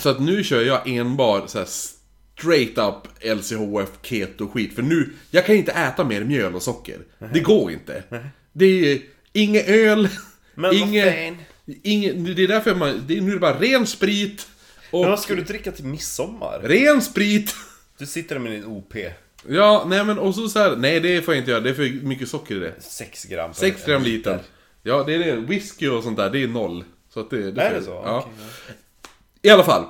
Så att nu kör jag enbart så här straight up LCHF keto skit. För nu, jag kan inte äta mer mjöl och socker. Det går inte. Det är inget öl, Men vad inget... fan. Inge, det är därför man, det är, nu är det bara ren sprit Men Och vad ska du dricka till midsommar? ren sprit! Du sitter med din OP. Ja, nej men och så, så här, nej det får jag inte göra, det är för mycket socker i det. 6 gram. per- 6 gram liter. Ja, det är det. Whisky och sånt där, det är noll. Så att det, Är det så? Ja. Okej, Mm. I alla fall.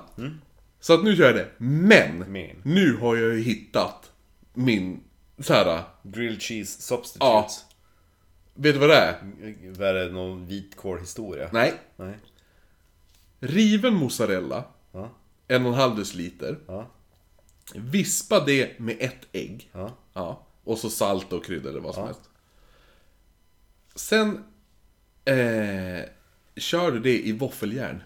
Så att nu kör jag det. Men! Men. Nu har jag ju hittat min så här. Grilled cheese Ja. substitutes. Vet du vad det är? Vad är det? Någon vitkålhistoria? Nej. Nej. Riven mozzarella. Ja. En och en halv deciliter. Ja. Vispa det med ett ägg. Ja. Och så salt och kryddor eller vad som helst. Sen eh, kör du det i våffeljärn.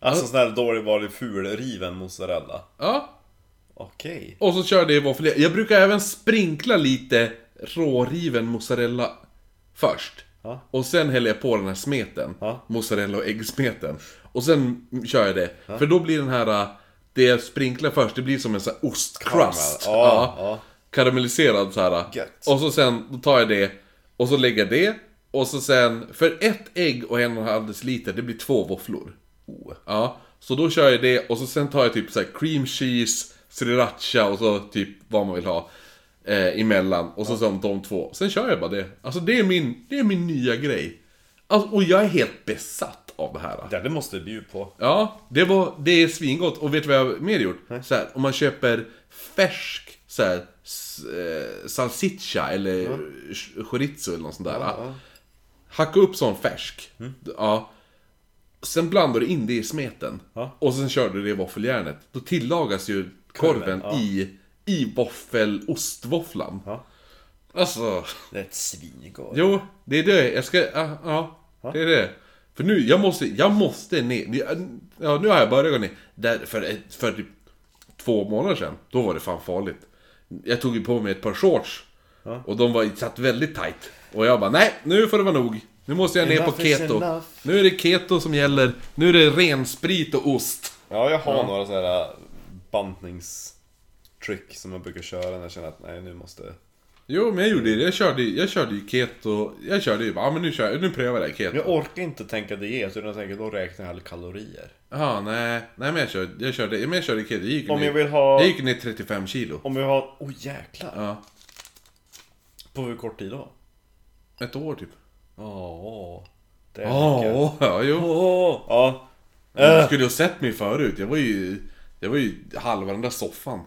Alltså sån här dålig vanlig fulriven mozzarella. Ja, Okej. Och så kör det i våffel. Jag brukar även sprinkla lite råriven mozzarella först. Ja. Och sen häller jag på den här smeten. Ja. Mozzarella och äggsmeten. Och sen kör jag det. För då blir den här... äh, Det jag sprinklar först, det blir som en sån här ostcrust. Karamell. Ja, ja. Karamelliserad så här. äh, Gött. Och så sen då tar jag det. Och så lägger jag det. Och så sen, för ett ägg och en och en halv deciliter, det blir två våfflor. Ja, så då kör jag det och så sen tar jag typ så här cream cheese, sriracha och så typ vad man vill ha eh, emellan. Och så som de två. Sen kör jag bara det. Alltså det är min, det är min nya grej. Alltså, och jag är helt besatt av det här. alltså. Det, det måste du bjuda på. Ja, det, var, det är svingott. Och vet du vad jag mer gjort? Så här, om man köper färsk så här, s, eh, salsiccia eller ch- chorizo eller något sånt där. ah. Hacka upp sån färsk. Mm. Ja. Sen blandar du in det i smeten. Ja. Och sen kör du det i våffeljärnet. Då tillagas ju korven ja. i, i våffel, ostvåfflan. Ja. Alltså, Det är ett svingott. jo, det är det. Jag ska, ja, ja det är det. För nu, jag måste, jag måste ner. Ja, nu har jag börjat gå ner. Där, för, ett- för typ två månader sedan, då var det fan farligt. Jag tog ju på mig ett par shorts. Och de var satt väldigt tight. Och jag bara, nej, nu får det vara nog. Nu måste jag ner Enough på is keto. enough. Nu är det keto som gäller. Nu är det ren sprit och ost. Ja, jag har några sådana här äh, bantningstrick som jag brukar köra när jag känner att nej, nu måste... Jo, men jag gjorde det. Jag körde, jag körde ju keto. Jag körde ju, ja men nu, kör, jag- nu prövar jag keto. Jag orkar inte tänka diet, utan jag tänker då räknar jag alla kalorier. Ja, nej. Nej, men jag körde, jag körde, men jag körde keto. Jag gick, Om ner, jag vill ha- jag gick ner 35 kilo. Om vi har... Åh oh, jäklar! Ja, På hur kort tid då? ett år typ. Ja, det är Ja, mycket. ja, jo. Åh, Ja, Äh. Du skulle ju ha sett mig förut. Jag var ju, jag var ju halva den där soffan.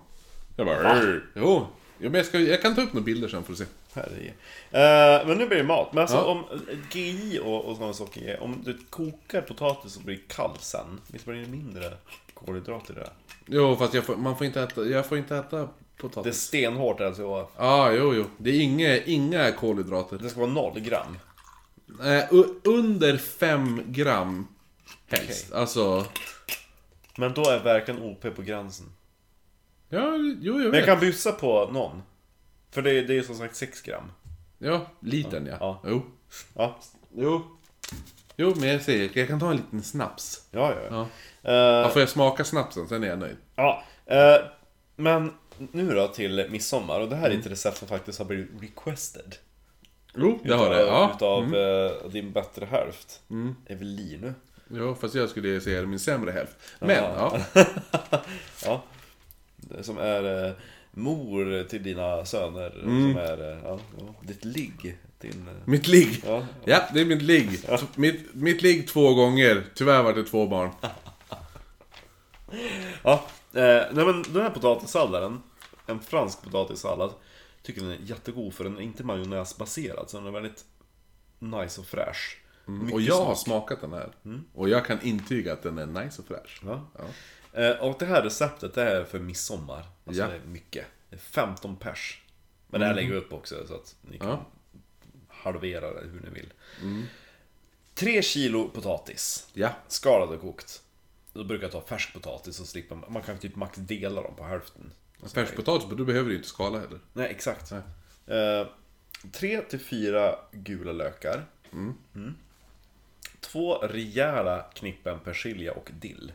Jag bara... "Rrr." Jo. Jo, men jag, ska, jag kan ta upp några bilder sen för att se. herregud. Eh, men nu blir det mat. Men alltså Ja. om GI och, och sådana saker, grejer, om du kokar potatis och blir kall sen, visst blir det mindre kolhydrater i det? Jo, fast jag får, man får inte äta, jag får inte äta Det är potatis. stenhårt alltså. Ja, ah, jo, jo. Det är inga, inga kolhydrater. Det ska vara noll gram. Nej, u- under 5 gram helst. Alltså... Men då är verkligen OP på gränsen. Ja, jo, jag Men jag vet. kan bjussa på någon. För det är, det är som sagt 6 gram. Ja, liten ja. Ja. Jo. Ja, Jo. Jo, men jag säger, jag kan ta en liten snaps. ja, ja. ja. Ja. Eh, Ja, får jag smaka snapsen, sen är jag nöjd. ja. eh, men nu då till midsommar. Och det här är Mm. ett recept som faktiskt har blivit requested. Jo, jag har det. Ja. Mm. Utav eh, din bättre hälft. Evelino. Jo, fast jag skulle säga det min sämre hälft. Men, ja. Ja. Som är eh, mor till dina söner. Mm. Som är eh, ja, ja, ditt ligg. Din, eh, Mitt ligg. ja. Ja, det är mitt ligg. T- Mitt, mitt ligg två gånger. Tyvärr var det två barn. Ja, eh, nej men den här potatissalladen, en fransk potatissallad, tycker den är jättegod för den är inte majonnäsbaserad, så den är väldigt nice och fräsch. Mycket Och jag har smak. smakat den här. Och jag kan intyga att den är nice och fräsch. Ja. Ja. Eh, och det här receptet, det är för midsommar. Alltså Ja. Mm. det är mycket. Det är 15 pers. Men det här lägger vi upp också så att ni kan Ja. Mm. halvera det hur ni vill. tre 3 kilo potatis. Ja. Skalad och kokt. Då brukar jag ta färsk potatis och slippa, man kan typ max dela dem på hälften. Färskpotatis, men du behöver ju inte skala heller. Nej, exakt. Eh, tre till fyra gula lökar. Mm. Två rejäla knippen persilja och dill.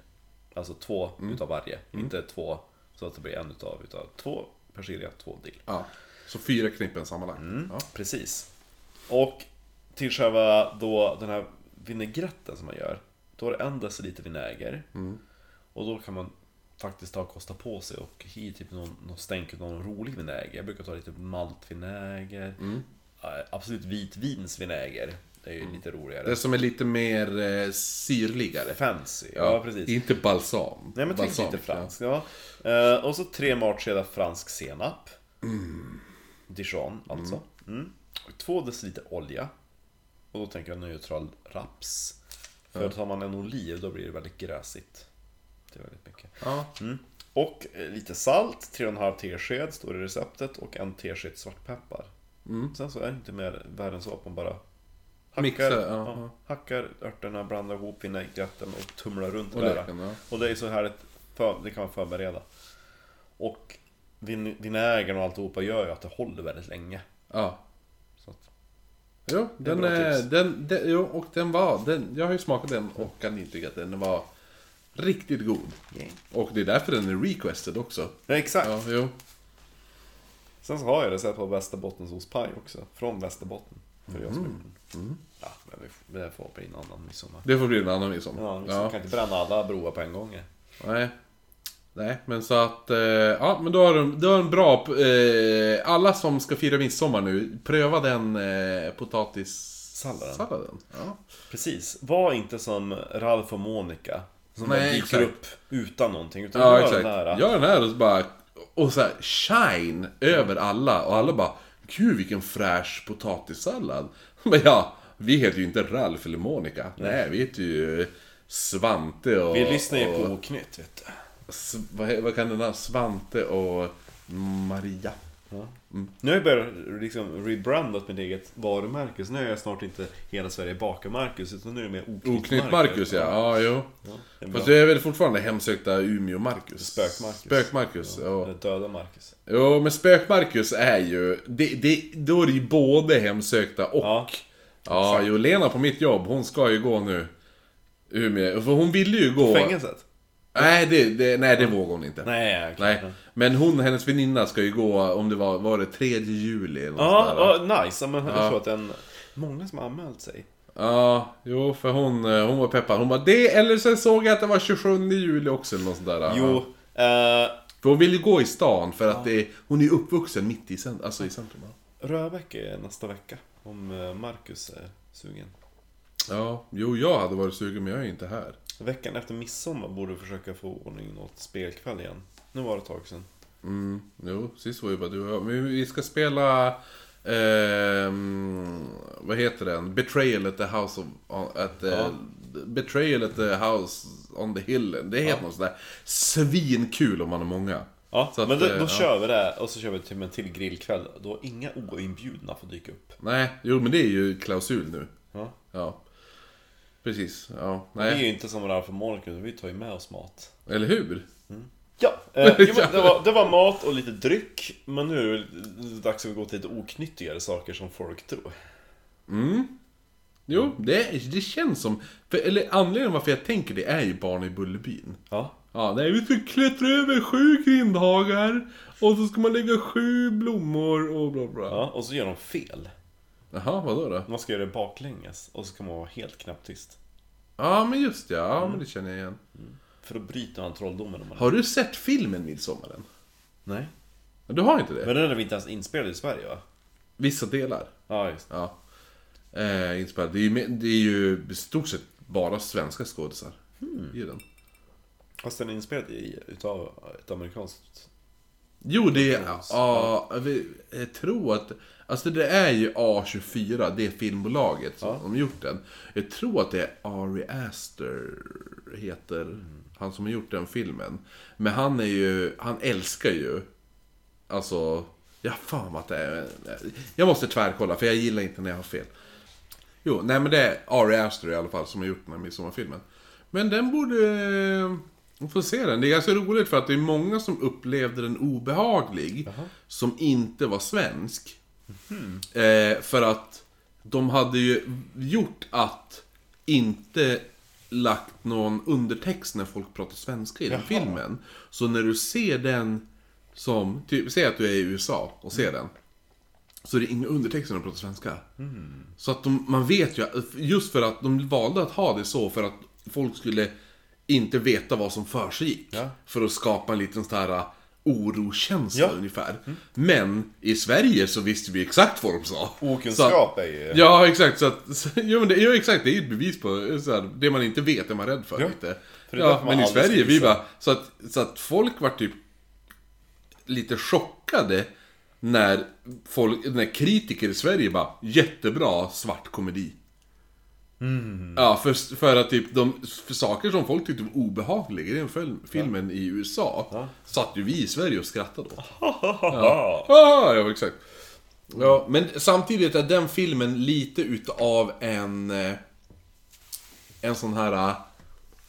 Alltså två utav varje. Inte två så att det blir en utav, utav två persilja, två dill. Ja. Så fyra knippen sammanlagt. Ja. Precis. Och till själva då den här vinägretten som man gör. Då var det en deciliter vinäger. Och då kan man faktiskt ta och kosta på sig och i typ någon, någon stänk av någon rolig vinäger. Jag brukar ta lite maltvinäger. Eh, Absolut vitvinsvinäger. Det är ju lite roligare. Det som är lite mer eh, syrligare. Fancy. ja precis. Inte balsam. Nej men tänk balsam, lite fransk. Ja. Eh, och så tre matskedar fransk senap. Mm. Dijon alltså. Mm. Och Två deciliter olja. Och då tänker jag neutral raps. För tar man en oliv då blir det väldigt gräsigt. Det är väldigt mycket. Ja. Mm. Och eh, lite salt, 3,5 tesked står det i receptet och en tesked svartpeppar. Mm. Sen så är det inte mer värre än så att man bara hackar, Mixar, ja. hackar örterna, blandar ihop vinäggrätten och tumlar runt Och det där. löken, ja. Och det är så härligt, för, det kan man förbereda. Och vin- vinägern och alltihopa gör ju att det håller väldigt länge. ja. Så att, Jo, är den, bra är, tips. den, den, jo, och den var, den, jag har ju smakat den och kan intyga att den var riktigt god. Och det är därför den är requested också. ja, exakt. Ja, jo. Sen så har jag recept på västerbottenostpaj också, från Västerbotten. För jag som mm. Ja, men vi får, det får bli en annan midsommar. Det får bli en annan midsommar. Ja, liksom, kan inte bränna alla broar på en gång. eh. Nej. Nej, men så att... eh, Ja, men då har du, du har en bra... eh, Alla som ska fira midsommar nu, pröva den eh, potatissalladen. Salladen. Ja. Precis, var inte som Ralf och Monica. Som Nej, bara dyker exakt. upp utan någonting. Utan Ja, gör exakt. den här, Gör den här och så bara... Och så här, shine över alla. Och alla bara, gud vilken fräsch potatissallad. Men ja, vi heter ju inte Ralf eller Monica. Nej, vi heter ju Svante och... Vi lyssnar ju på och, Oknytt vet du. S- vad, vad kan den här? Svante och Maria. Nu har jag börjat liksom rebrandat mitt eget varumärke, så nu är jag snart inte Hela Sverige bakar Marcus, utan nu är det mer Oknytt, Oknytt Marcus, ja. Ja, jo. det är Fast bra. det är väl fortfarande hemsökta Umeå-Marcus? Spök-Marcus. Spök-Marcus, ja. Eller Döda Marcus. Jo, men Spök-Marcus är ju... Det, det, då är det ju både hemsökta och... Ja, Ja. jo, Lena på mitt jobb, hon ska ju gå nu. Umeå, för hon ville ju gå... Fängelset? Nej, det, det, nej, det vågar hon inte. Nej, okej. Nej. Men hon, hennes väninna, ska ju gå, om det var, var det 3 juli eller något Ja, sånt där. ja, nice. Ja, Men jag tror att en... Många som har anmält sig. Ja, jo, för hon, eh, hon var peppad. Hon bara det, eller sen såg jag att det var 27 juli också eller något sånt där. Jo, Ja. eh, För hon vill ju gå i stan för att det, hon är ju uppvuxen mitt i centrum. Alltså i centrum. ja. Röbäck är nästa vecka. Om eh, Marcus är sugen. Ja, jo jag hade varit sugen men jag är ju inte här. Veckan efter midsommar borde vi försöka få ordning något spelkväll igen. Nu var det ett tag sedan. Mm, jo, sist var ju bara du och jag. Men vi ska spela... ehm, vad heter den? Betrayal at the house of... on- At, eh, Ja. Betrayal at the house on the hill. Det heter något sånt där. Svinkul om man är många. Ja, Så att, men då, eh, då ja. kör vi det och så kör vi till en till grillkväll. Då inga oinbjudna får dyka upp. Nej, jo men det är ju klausul nu. Ja. Ja. Precis, ja. Vi är ju Nej. inte som det här för Monica, vi tar ju med oss mat. Eller hur? Ja, eh, jo, men det, var, det var mat och lite dryck. Men nu är det dags att gå till lite oknyttigare saker som folk tror. Jo, det, det känns som... För, eller anledningen varför jag tänker det är ju barn i Bullerbyn. Ja. Ja, nej, vi ska klättra över sju grindhagar och så ska man lägga sju blommor och bla bla. ja, och så gör de fel. Jaha, vadå då? Man ska göra det baklänges och så kan man vara helt knäpptyst. Ja, men just det, ja, men det känner jag igen. För då bryter man trolldomen om man... Har du sett filmen Midsommaren? Nej. Du har inte det? Men den är vi inte ens inspelad i Sverige va? Vissa delar. Ja, just det. Ja. Eh, inspelad. Det är ju, med- det är ju i stort sett bara svenska skådisar i den. Fast den är inspelad i, utav ett amerikanskt... Jo, det är... Ja, vi- jag tror att... Alltså det är ju A24, det filmbolaget som Ja. har gjort den. Jag tror att det är Ari Aster, heter han som har gjort den filmen. Men han är ju... Han älskar ju... Alltså... Jag har för mig att det är... Jag måste tvärkolla, för jag gillar inte när jag har fel. Jo, nej men det är Ari Aster i alla fall som har gjort den här midsommarfilmen. Men den borde... eh, Vi får se den. Det är ganska roligt för att det är många som upplevde den obehaglig. Som inte var svensk. Eh, för att de hade ju gjort att inte lagt någon undertext när folk pratar svenska i den filmen. Så när du ser den som... Typ, säg att du är i USA och ser den. Så det är inga undertexter när de pratar svenska. Så att de, man vet ju, just för att de valde att ha det så för att folk skulle inte veta vad som för sig gick. Ja. För att skapa en liten sån här äh, orokänsla Ja. ungefär. Men i Sverige så visste vi exakt vad de sa. Så att- Okunskap är ju... Ja, exakt. Så att, så, jo, men det, jo, exakt. Det är ju ett bevis på så här, det man inte vet är man rädd för. Ja. Lite. För det är Ja, därför man men i aldrig Sverige, ska vi gissa. bara... Så att, så att folk var typ lite chockade när, folk, när kritiker i Sverige bara Jättebra svart komedi. Mm. Ja, för, för att typ de för saker som folk tyckte var obehagliga i den film, filmen i USA satt ju vi i Sverige och skrattade åt. Ja, ah, ja exakt. Ja, men samtidigt är den filmen lite utav en... eh, En sån här... eh,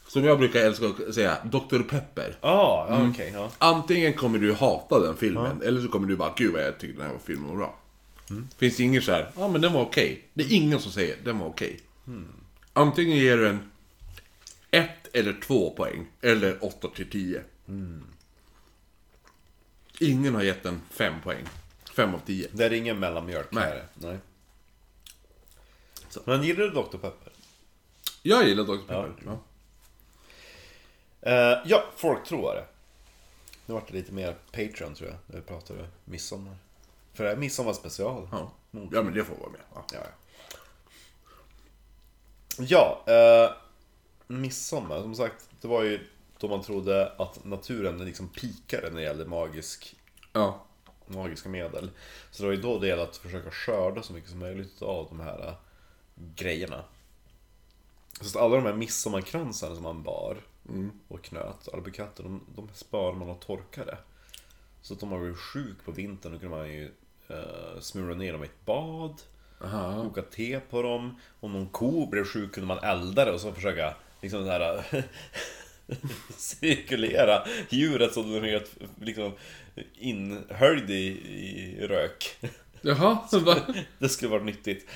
Som jag brukar älska att säga, Dr. Pepper. Ah, ja, okej. ja. Antingen kommer du hata den filmen, eller så kommer du bara 'Gud vad jag tyckte den här filmen var bra' Finns det ingen så här, 'Ja men den var okej' Det är ingen som säger 'Den var okej' Mm. Antingen ger du en 1 eller 2 poäng, eller 8 till 10 Mm. Ingen har gett den 5 poäng 5 av 10 Det är ingen mellanmjölk Nej. här. Nej. Så. Men gillar du Dr. Pepper? Jag gillar Dr. Pepper ja. Eh, ja, folktroare. Nu vart det lite mer Patreon tror jag, när vi pratade midsommar. För det här är midsommarspecial. Ja. ja, men det får vara med ja. Ja, ja. ja eh, midsommar. Som sagt, det var ju då man trodde att naturen liksom pikade när det gällde magisk, ja magiska medel. Så det var ju då det gällde att försöka skörda så mycket som möjligt av de här eh, grejerna. Så att alla de här midsommarkransarna som man bar och knöt, albukatter, de, de spar man och torkade. Så att om man blev sjuk på vintern då kunde man ju eh, smula ner dem i ett bad Aha. koka te på dem. Om någon ko blev sjuk kunde man elda det och så försöka liksom så här cirkulera djuret så att den helt liksom inhöljd i, i rök. Jaha, va? Det skulle vara nyttigt.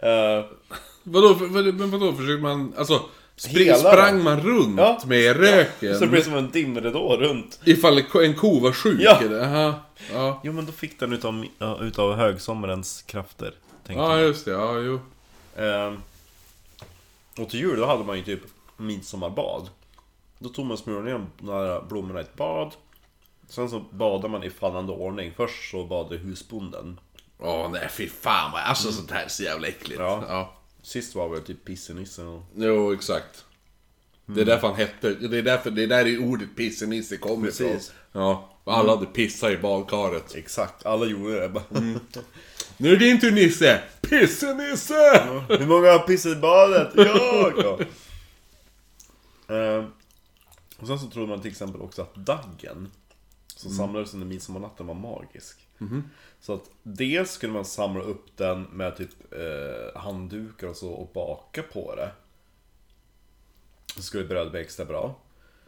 Eh, vadå, för- vad- men vadå, försökte man, alltså spring, Hela, va? sprang man runt Ja. med röken? så det blev som en dimridå runt. Ifall en ko var sjuk? Ja. Eller? Aha. Ja. Jo men då fick den utav, ja, utav högsommarens krafter. Tänkte ja, just det. Ja, jo. jag. Eh, och till jul då hade man ju typ midsommarbad. Då tog man smulorna igen nära blommorna i ett bad. Sen så badar man i fallande ordning. Först så badade husbonden. Åh nej, fy fan vad... Alltså sånt här är så jävla äckligt. Mm. Ja. Sist var väl typ pissenissen och... Jo, exakt. Det Mm. är därför han hette... Det är därför det är där i ordet pissenisse kommer ifrån. Precis. Mm. Ja. Alla hade pissat i badkaret. Exakt, alla gjorde det. Bara, Nu är det din tur Nisse! Pissenisse! Hur många har pissat i badet? Jag! Ja. Ehm, och sen så trodde man till exempel också att daggen som samlades under midsommarnatten var magisk. Så att dels skulle man samla upp den med typ eh, handdukar och så och baka på det. Så skulle bröd bli extra bra.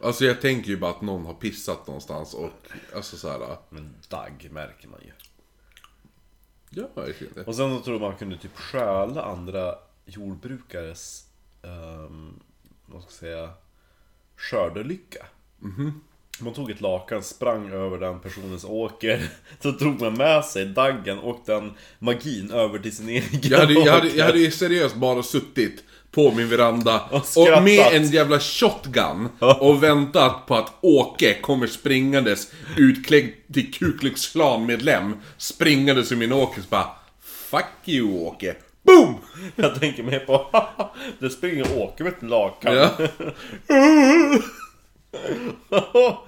Alltså jag tänker ju bara att någon har pissat någonstans och... Alltså såhär... Men dagg märker man ju. Ja, jag vet inte. Och sen så trodde man kunde typ stjäla andra jordbrukares, um, vad ska jag säga, skördelycka. Mhm. Man tog ett lakan, sprang över den personens åker, så tog man med sig daggen och den magin över till sin egen Jag hade, jag, hade, åker. jag hade ju seriöst bara suttit på min veranda Och och, skrattat. med en jävla shotgun och väntat på att Åke kommer springandes utklädd till Ku Klux Klan-medlem springandes i min åker så bara Fuck you Åke! Boom! Jag tänker mig på, det springer åker med ett lakan. Ja.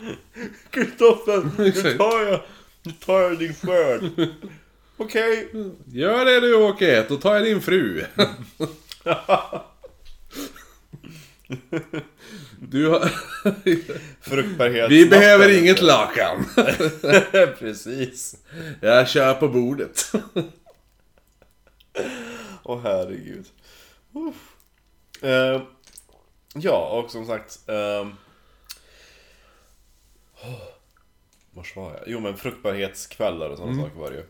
Kristoffer, nu Exakt. tar jag, nu tar jag din skörd. Okej. Mm. Gör det du Åke, då tar jag din fru. Du har... Fruktbarhet. Vi behöver inget lakan. Precis. Jag kör på bordet. Åh herregud. Uff. Eh, ja, och som sagt. ehm, åh, vars var jag? Jo men fruktbarhetskvällar och sådana saker var det ju.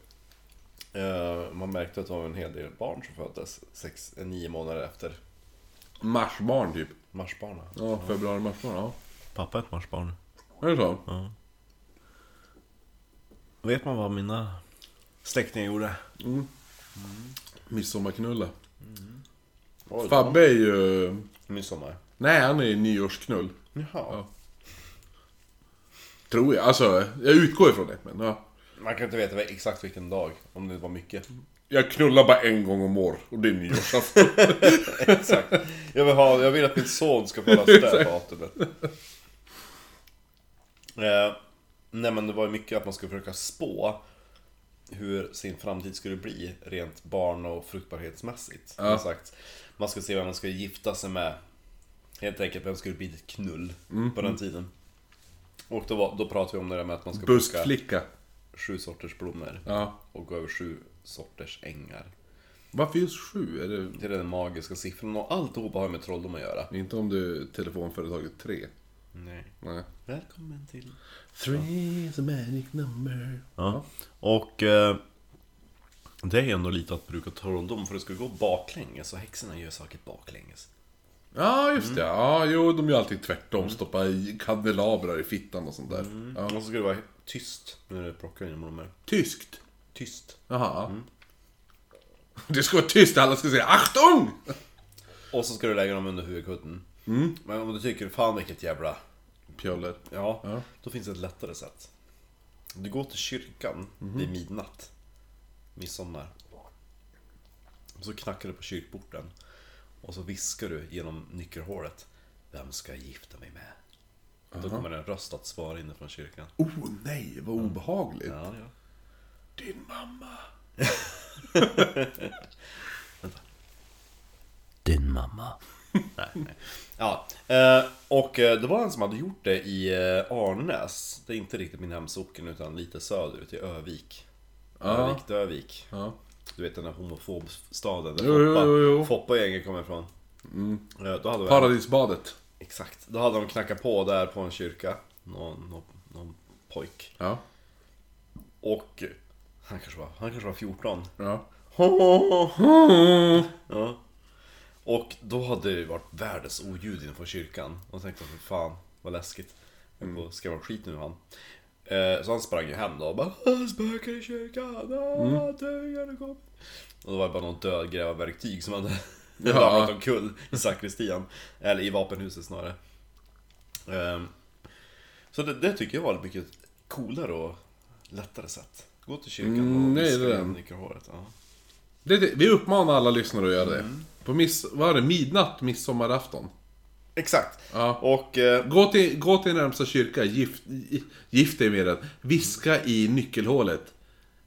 Eh, man märkte att det var en hel del barn som föddes sex, eh, nio månader efter Marsbarn typ. marsbarnen. Ja, februari, marsbarn. Ja. Pappa är ett marsbarn. Är det så? Vet man vad mina släktingar gjorde? Midsommarknulle. Oj, Fabbe är ju... Midsommar. Nej, han är nyårsknull. Jaha. Tror jag. Alltså, jag utgår ifrån det. Men, ja. Man kan inte veta exakt vilken dag, om det var mycket. Jag knullar bara en gång om år och det är nyårsafton. Exakt. Jag vill, ha, jag vill att min son ska få hålla det datumet. Eh, nej men det var ju mycket att man skulle försöka spå hur sin framtid skulle bli rent barn och fruktbarhetsmässigt. Som Ja. Sagt, man skulle se vem man skulle gifta sig med. Helt enkelt vem skulle bli ditt knull Mm. på den tiden. Och då, var, då pratade vi om det där med att man ska plocka Buskflicka. sju sorters blommor Ja. och gå över sju sorters ängar. Varför just sju? Är det... Det är den magiska siffran och alltihopa har med trolldom att göra. Inte om du är telefonföretaget 3. Nej. Nej. Välkommen till... Three is a magic number. Ja. Och eh, det är ändå lite att bruka trolldom för det skulle gå baklänges och häxorna gör saker baklänges. Ja, just det. Ja, jo, de gör alltid tvärtom. Stoppa i kandelabrar i fittan och sånt där. Och Ja. så skulle det vara tyst när du plockar dina blommor. Tyskt. Tyst. Jaha. Det ska vara tyst. Alla ska säga Achtung! Och så ska du lägga dem under huvudkudden. Men om du tycker fan vilket jävla... Pjöller. Ja, Ja. då finns det ett lättare sätt. Du går till kyrkan vid midnatt. Midsommar. Och så knackar du på kyrkporten. Och så viskar du genom nyckelhålet. Vem ska jag gifta mig med? Då kommer en röst att svara inifrån kyrkan. Oh nej, vad obehagligt. Ja, ja. Din mamma. Din mamma. nej, nej. Ja, eh, och eh, det var en som hade gjort det i eh, Arnäs. Det är inte riktigt min hemsocken utan lite söderut i Övik. Övik, Dövik. Ja. Du vet den där homofobstaden där Jo, jo, Foppa, jo, Mm. jo. Foppa och gänget kommer ifrån. Eh, Då hade vi, Paradisbadet. Exakt. Då hade de knackat på där på en kyrka. Någon, någon, någon pojk. Ja. Och han kanske var, han kanske var 14. Ja. Ja. Och då hade det varit världens oljud inne från kyrkan. Och tänkte jag, för fan vad läskigt. Jag Mm. får skrämma skit nu han. Eh, Så han sprang ju hem då och bara "Åh, Spöken i kyrkan, mm. döingarna kommer. Och då var det bara någon död grävarverktyg som hade ramlat omkull i sakristian. Eller i vapenhuset snarare. Ehm, Så det, det tycker jag var ett mycket coolare och lättare sätt. Gå till kyrkan Mm, och nej, viska det är in det. i håret. Ja. Det, det, vi uppmanar alla lyssnare att göra det. På miss, vad är det? Midnatt, midsommarafton. Exakt. Ja. Och eh, Gå till, gå till närmsta kyrka, gift, gift dig med den. Viska i nyckelhålet.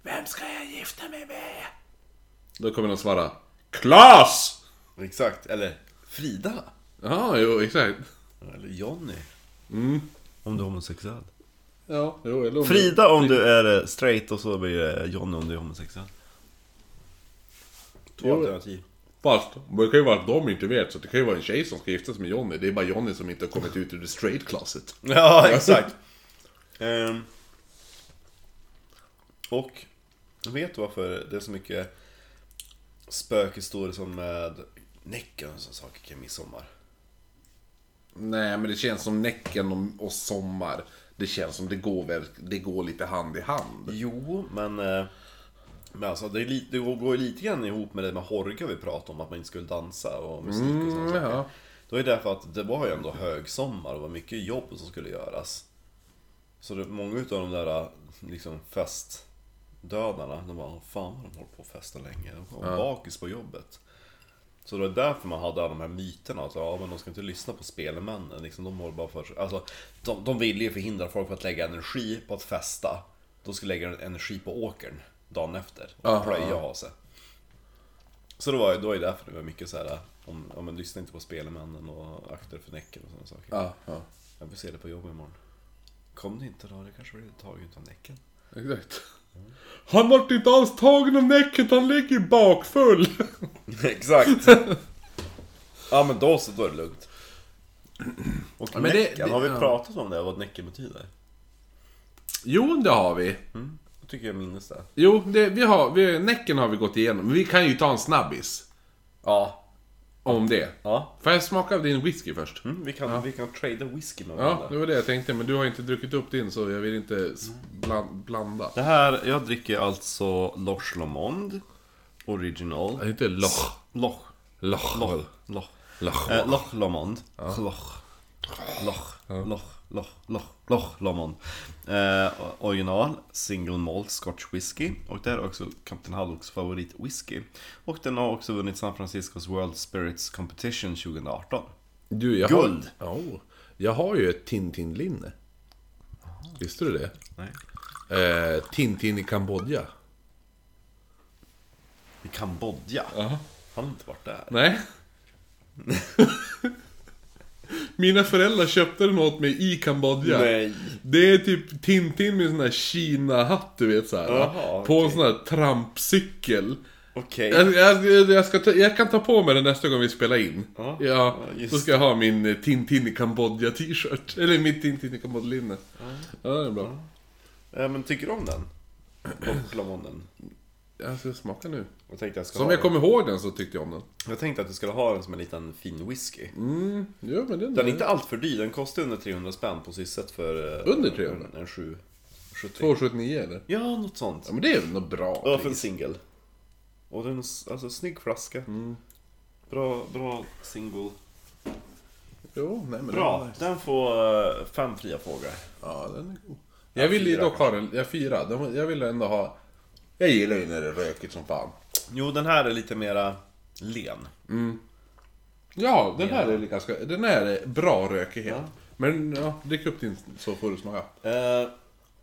Vem ska jag gifta mig med? Då kommer de svara. Klas! Exakt, eller Frida. Ja, jo, exakt. Eller Jonny. Mm. Om du är homosexuell. Ja, jo, eller om Frida om du är eh, straight och så blir det Jonny om du är homosexuell. Två Jo. alternativ. Fast, det kan ju vara att de inte vet, så det kan ju vara en tjej som ska gifta sig med Johnny. Det är bara Johnny som inte har kommit ut ur det straight closet. Ja, exakt. Ehm. och vet du varför det är så mycket spökhistorier som med Näcken och sådana saker kring midsommar? Nej, men det känns som Näcken och, och Sommar. Det känns som det går, väl, det går lite hand i hand. Jo, men... eh, Men alltså, det, är li- det går går ju lite grann ihop med det med Horga vi pratade om, att man inte skulle dansa och musik och sånt. Mm, ja. Det var ju därför att det var ju ändå högsommar och det var mycket jobb som skulle göras. Så det, många utav de där liksom festdödarna, de bara Fan vad de håller på och festar länge, de kom bakis på jobbet. Så det var därför man hade alla de här myterna, att ja, men de ska inte lyssna på spelmännen, liksom, de håller bara för sig. Alltså, de, de ville ju förhindra folk från att lägga energi på att festa. De skulle lägga energi på åkern dagen efter och Aha. plöja och ha sig. Så det var ju det var ju därför det var mycket så här om, om man lyssnar inte på spelmännen och akter för näcken och sådana saker. Ja, ja. Jag får se det på jobbet imorgon. Kom det inte då, det kanske blir taget av näcken. Exakt. Han vart inte alls tagen om näcket, han ligger ju bakfull. Exakt! ja men då så, då är det lugnt. Och Ja, men det- näcken, det- har vi ja. pratat om det, vad näcken betyder? Jo, det har vi. Jag tycker jag minns det. Jo, det, vi har, vi, Näcken har vi gått igenom. Men vi kan ju ta en snabbis Ja. om det. Ja. Får jag smaka av din whisky först? Mm, vi, kan, vi kan trada whisky med Ja, varandra. det var det jag tänkte, men du har inte druckit upp din så jag vill inte s- bland, blanda. Det här, jag dricker alltså Loch Lomond Original. Det heter Loch. Loch. Loch. Loch. Loch. Loch. Eh, Loch Lomond. Loch. Loch. Loch. Loch. Loch. Loch Lomond. Eh, original single malt Scotch whisky. Och det är också Captain Hallocks favorit whisky. Och den har också vunnit San Franciscos World Spirits Competition 2018. Du, jag Guld. Har, oh, jag har ju ett Tintin-linne. Visste du det? Nej. Eh, Tintin i Kambodja. I Kambodja. Han har inte varit där. Nej. Mina föräldrar köpte den åt mig i Kambodja. Nej. Det är typ Tintin med sån här Kina-hatt, du vet såhär. Jaha, på en sån här trampcykel. Okej. Jag, jag, jag, ska ta, jag kan ta på mig den nästa gång vi spelar in. Ja, ja, ja, just så ska jag ha min eh, Tintin i Kambodja t-shirt. Eller mitt Tintin i Kambodja-linne. Ja, det är bra. Eh, men tycker du om den? Loch Lomonden. Jag ska smaka nu. Jag tänkte, jag, ska Som ha jag den. kommer ihåg den så tyckte jag om den. jag tänkte att du skulle ha den som en liten fin whisky. Mm, ja men den, Den är inte allt för dyr, den kostar under 300 spänn på Sysset för... eh, Under 300? En, en 7, 70. 2,79 eller? Ja, något sånt. Ja men det är nog bra. Ja, för en pris. singel. Och den är en s- alltså, snygg flaska. Mm. Bra, bra single. Jo, nej, men Den, Bra, den får eh, fem fria frågor. ja, den är god. Jag vill ju fyra dock ha den, jag fyra. Den- Jag vill ändå ha... Jag gillar ju när det är rökigt som fan. Jo, den här är lite mera len. Ja, den här är lika- ganska... Den här är bra rökighet. Men ja, drick upp din så får du smaka. Eh,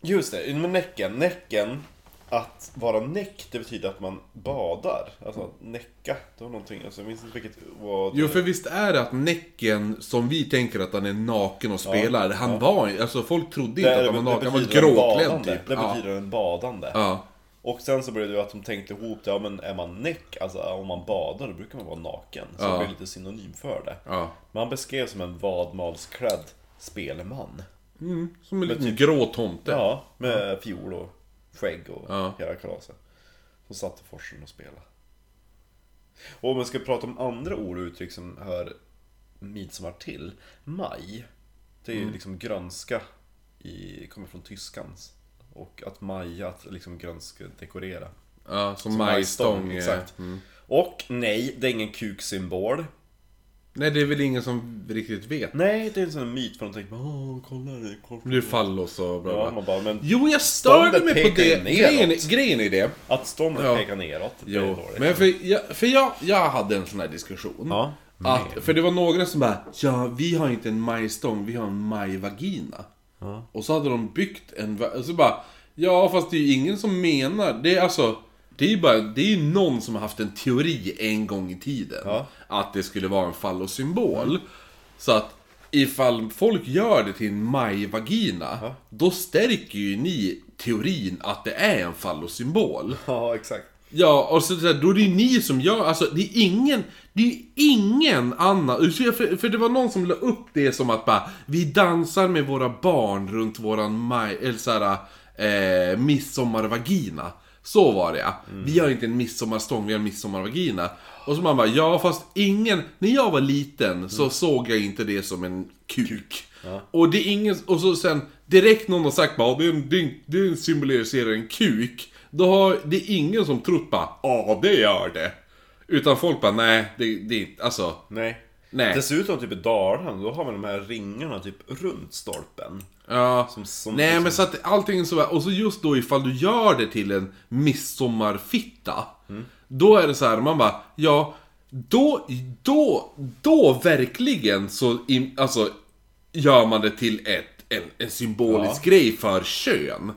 just det, med näcken. Näcken, att vara näck, det betyder att man badar. Alltså att näcka, det var någonting, alltså, jag minns inte vilket... Vad... Jo, för visst är det att Näcken, som vi tänker att han är naken och spelar, han var Alltså folk trodde inte att han var naken, han var betyder en gråklädd badande. typ. Det Ja. betyder en badande. Ja. Och sen så blev det ju att de tänkte ihop det, ja men är man näck, alltså om man badar då brukar man vara naken. Så det blev lite synonym för det. Ja. Men han beskrevs som en vadmalsklädd spelman. Mm, som en liten grå tomte. Ja, med fiol och skägg och Ja. hela kalaset. Som satt i forsen och spelade. Och om man ska prata om andra ord och uttryck som hör midsommar till. Maj, det är Mm. ju liksom grönska, i, kommer från tyskans. Och att maja, att liksom grönska dekorera. Ja, som, Som majstång. eh. exakt. Och nej, det är ingen kuksymbol. Nej, det är väl ingen som riktigt vet. Nej, det är en sån myt för de tänker bara åh, kolla det är kort. Du fallos och bla Ja, bla. man bara, men Jo, jag störde Ståndet mig på pekar det. ju neråt. Grejen, grejen är det. att ståndet Ja. pekar neråt, det är Jo, dåligt. men för, jag, för jag, jag hade en sån här diskussion. Ja. Att, för det var några som bara, ja vi har inte en majstång, vi har en majvagina. Och så hade de byggt en, va- och så bara, ja fast det är ju ingen som menar, det är alltså, det är ju bara, det är ju någon som har haft en teori en gång i tiden. Ja. Att det skulle vara en fallosymbol. Så att ifall folk gör det till en majvagina, då stärker ju ni teorin att det är en fallosymbol. Ja, exakt. Ja, och så, så här, då är det ju ni som gör, alltså det är ingen, det är ingen annan, Så jag- för, för det var någon som la upp det som att bara, vi dansar med våra barn runt våran maj, eller så här, eh, midsommarvagina. Så var det ja. Vi har inte en midsommarstång, vi har en midsommarvagina. Och så man bara, ja fast ingen, när jag var liten så såg jag inte det som en kuk. Och det är ingen, och så sen direkt någon har sagt bara, "Ja, det, är en, det, är en, det symboliserar en kuk. Då har det är ingen som trott bara, ja det gör det. Utan folk bara, nej, det, det är inte- alltså. Nej. Nej. Dessutom typ i Dalarna, då har man de här ringarna typ runt stolpen. Ja. Som, som, nej liksom, men så att allting så här, och så just då ifall du gör det till en midsommarfitta. Mm. Då är det så här, man bara, ja. Då, då, då verkligen så, i, alltså. Gör man det till ett, en, en symbolisk grej för kön.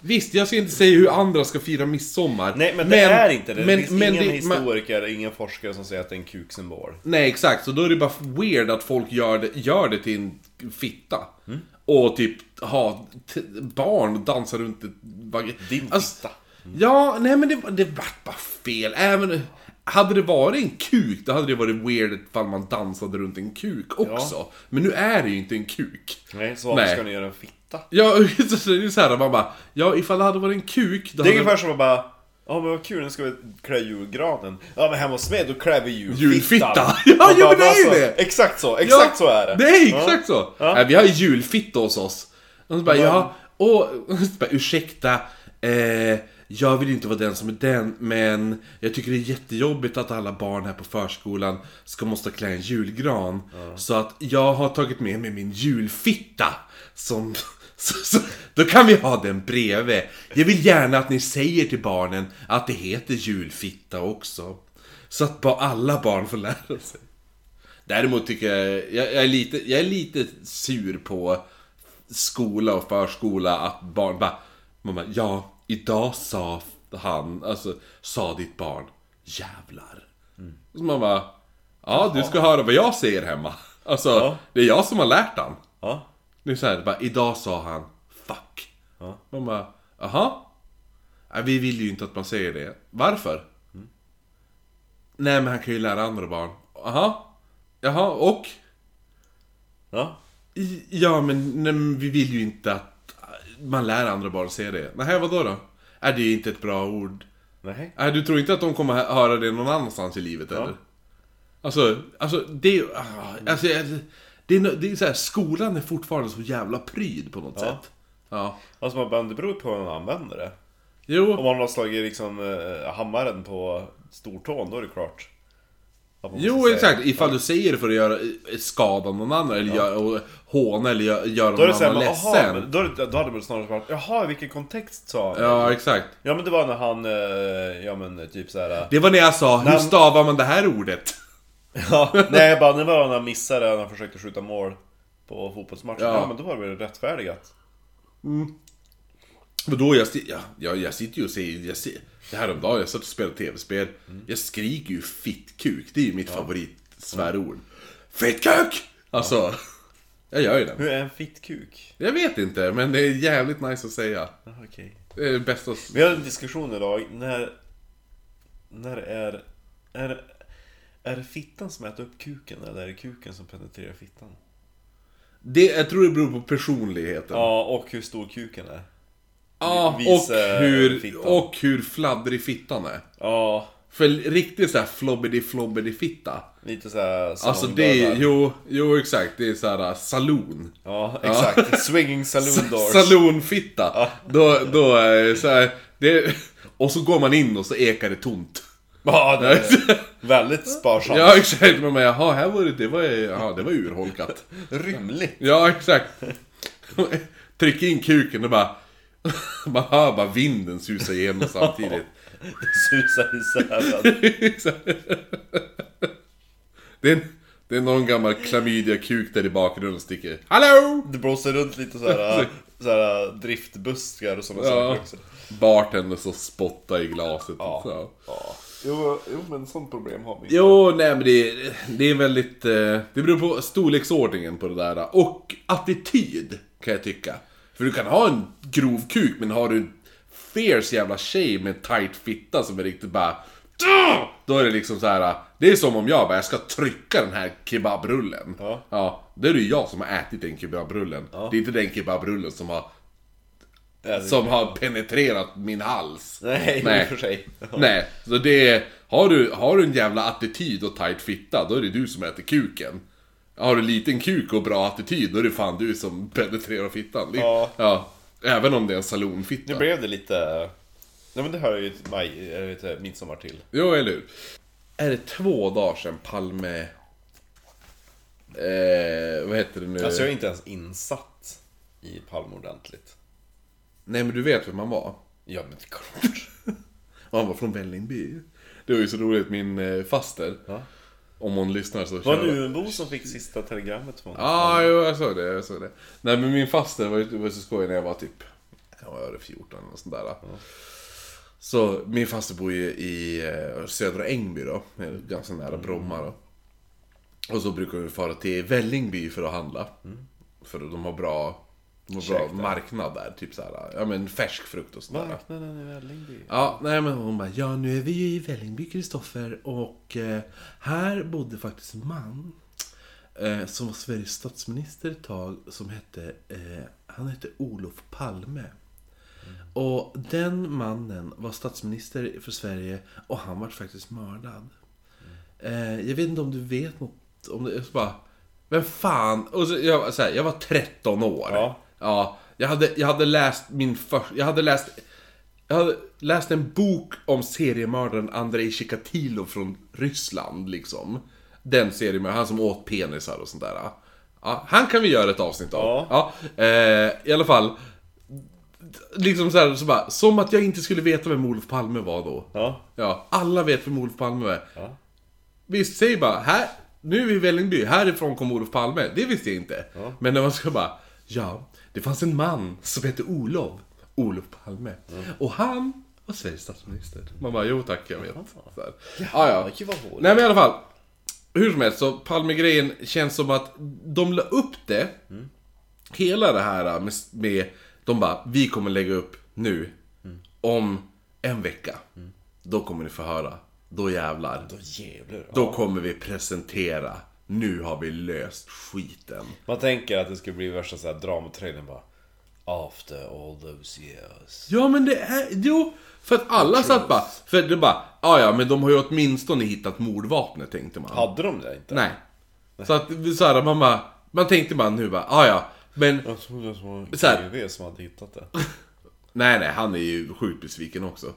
Visst, jag ska inte säga hur andra ska fira midsommar. Nej men det är inte det. men- det finns men ingen man- historiker, ingen forskare som säger att det är en kuksymbol. Nej exakt, så då är det bara weird att folk gör det, gör det till en fitta. Mm. Och typ ha t- barn och dansa runt ett vag- Din Alltså, fitta. Ja, nej men det, var- det vart bara fel. Även, hade det varit en kuk, då hade det varit weird ifall man dansade runt en kuk också. Men nu är det ju inte en kuk. Nej, så varför Nej. ska ni göra en fitta? Ja, så det är ju såhär, man bara, ja ifall det hade varit en kuk, då Det är hade ungefär som att bara Ja men vad kul, nu ska vi klä julgranen. Ja men hemma hos mig då klär vi julfittan. Julfitta. Ja, Man bara, jo, men det är ju alltså, det. Exakt så, exakt så är det. Nej, exakt så! Nej, vi har ju julfitta hos oss. Och så bara, ja, och, och så bara, ursäkta, eh, jag vill inte vara den som är den, men jag tycker det är jättejobbigt att alla barn här på förskolan ska måste klä en julgran. Så att jag har tagit med mig min julfitta. Som, så, så, då kan vi ha den bredvid. Jag vill gärna att ni säger till barnen att det heter julfitta också. Så att bara alla barn får lära sig. Däremot tycker jag, jag, jag, är lite, jag är lite sur på skola och förskola att barn bara, man bara ja, idag sa han, alltså sa ditt barn jävlar. Så man bara, ja du ska höra vad jag säger hemma. Alltså, Ja. det är jag som har lärt han. Ja. Det är så här, bara, idag sa han 'fuck' Ja. Man bara, aha? Nej, vi vill ju inte att man säger det. Varför? Nej men han kan ju lära andra barn. Aha? Jaha, och? Ja. I- Ja men, nej, men vi vill ju inte att man lär andra barn att säga det. Nej vadå då? Är det är inte ett bra ord. Nej. Nej, du tror inte att de kommer hö- höra det någon annanstans i livet eller? Alltså, alltså det är ah, alltså, jag- det är, no- det är så här, skolan är fortfarande så jävla pryd på något Ja. sätt. Ja. Alltså man bara, det beror på hur man använder det. Om Jo, man har slagit liksom eh, hammaren på stortån, då är det klart. Att man jo måste säga- exakt. Ifall du säger det för att göra eh, skada någon annan eller gör, och håna eller gör, göra Då är det någon såhär, annan men, aha, ledsen. men då, är det- då hade man snarare svarat Jaha, i vilken kontext sa han? Ja, exakt. Ja, men det var när han, eh, ja men typ såhär Det var när jag sa, hur Nej, stavar man det här ordet? ja, Nej, jag bara, det var när han missade när han försökte skjuta mål på fotbollsmatchen Ja. Ja, men då var det väl rättfärdigat? Men då, jag, si- ja, jag, jag sitter ju och säger, jag ser, det här om dagen, jag satt och spelade tv-spel. Jag skriker ju fittkuk, det är ju mitt favoritsvärord. Fittkuk! Alltså, jag gör ju den. Hur är en fittkuk? Jag vet inte, men det är jävligt nice att säga. Ja, Okej Det är det bästa... s- Vi hade en diskussion idag, när... När är... Är, är det fittan som äter upp kuken eller är det kuken som penetrerar fittan? Det, jag tror det beror på personligheten. Ja, Ja, och hur stor kuken är. och, visa hur, fittan. och hur fladdrig fittan är. Ja, För riktigt såhär flobbidi flobbidi fitta lite såhär... Alltså det är, salongdörrar. jo, jo exakt, det är såhär saloon. Ja, exakt. Swinging saloon doors. Salonfitta. Då, då är det så här, det, Och så går man in och så ekar det tomt. Ja, det är väldigt sparsamt. Ja exakt, man bara jaha, här var det, det var, jaha, det var urholkat. Rymligt. Ja exakt. Tryck in kuken och bara... Man hör bara vinden susa igenom samtidigt. Susar isär. Det är, det är någon gammal klamydia-kuk där i bakgrunden och sticker. Hallå! Det blåser runt lite såhär, såhär driftbuskar och sådana Ja. saker också. Bartender så spottar i glaset. Ja. Så. Ja. Jo, jo, men sånt problem har vi inte. Jo, nej men det, det är väldigt... eh, Det beror på storleksordningen på det där. Och attityd, kan jag tycka. För du kan ha en grov kuk, men har du en fierce jävla tjej med en tight fitta som är riktigt bara... "Tja!" Då är det liksom så här. Det är som om jag bara, jag ska trycka den här kebabrullen. Ja. det är ju jag som har ätit den kebabrullen. Det är inte den kebabrullen som har, Ja, det- som har penetrerat min hals. Nej, Nej. i och för sig. Nej, så det är, har, du, har du en jävla attityd och tight fitta, då är det du som äter kuken. Har du liten kuk och bra attityd, då är det fan du som penetrerar fittan. Det- Ja. ja. Även om det är en Nu salonfitta. blev det lite... Nej men det hör ju till maj, eller lite midsommar till. Jo, eller hur? Är det två dagar sedan Palme... Eh, vad heter det nu? Alltså jag är inte ens insatt i Palme ordentligt. Nej, men du vet vem han var. Ja men det är klart. Och han var från Vällingby. Det var ju så roligt, min eh, faster. Ja. Om hon lyssnar så... Var det en Umeåbo som fick sista telegrammet från Ja, jo, jag såg det, jag såg det. Nej, men min faster var ju det var så skoj när jag var typ, jag var 14 eller sånt där. Så min faster bor ju i eh, södra Ängby då, eh, ganska Mm. nära Bromma då. Och så brukar vi fara till Vällingby för att handla. För de har bra, de har bra Mm. Käk där. marknad där, typ så här, ja men färsk frukt och sånt där. Marknaden i Vällingby. Ja, nej men hon bara, ja nu är vi ju i Vällingby Kristoffer och eh, här bodde faktiskt en man eh, som var Sveriges statsminister ett tag som hette, eh, han hette Olof Palme. Och den mannen var statsminister för Sverige och han var faktiskt mördad. Eh, jag vet inte om du vet något om det. Jag bara, vem fan? Och så, jag, var så här, jag var 13 år. Ja. jag, hade, jag hade läst min för, Jag hade läst Jag hade läst en bok om seriemördaren Andrei Chikatilo från Ryssland, liksom. Den seriemördaren, han som åt penisar och sånt där. Ja, han kan vi göra ett avsnitt av. Ja. eh, I alla fall. Liksom så här, så bara, som att jag inte skulle veta vem Olof Palme var då. Ja. Ja, alla vet vem Olof Palme är. Ja. Visst, säg bara, här, nu är vi i Vällingby, härifrån kom Olof Palme. Det visste jag inte. Men när man ska bara, ja, det fanns en man som hette Olof, Olof Palme. Och han var Sveriges statsminister. Man bara, jo tack, jag vet. Så här. Ja, ja. gud vad roligt. Nej men i alla fall. Hur som helst, så Palmegrejen känns som att de la upp det. Hela det här med, med de bara, vi kommer lägga upp nu. Om en vecka. Då kommer ni få höra. Då jävlar. Då jävlar. Då kommer vi presentera. Nu har vi löst skiten. Man tänker att det skulle bli värsta så här dramatrailern bara. After all those years. Ja men det är, jo. För att alla satt bara, för det bara, ja ja men de har ju åtminstone hittat mordvapnet tänkte man. Hade de det inte? Nej. Så att så här, man bara, man tänkte bara nu bara, "Ah, ja ja. Men Jag trodde det var Så här. GV som hade hittat det. nej nej, han är ju sjukt besviken också.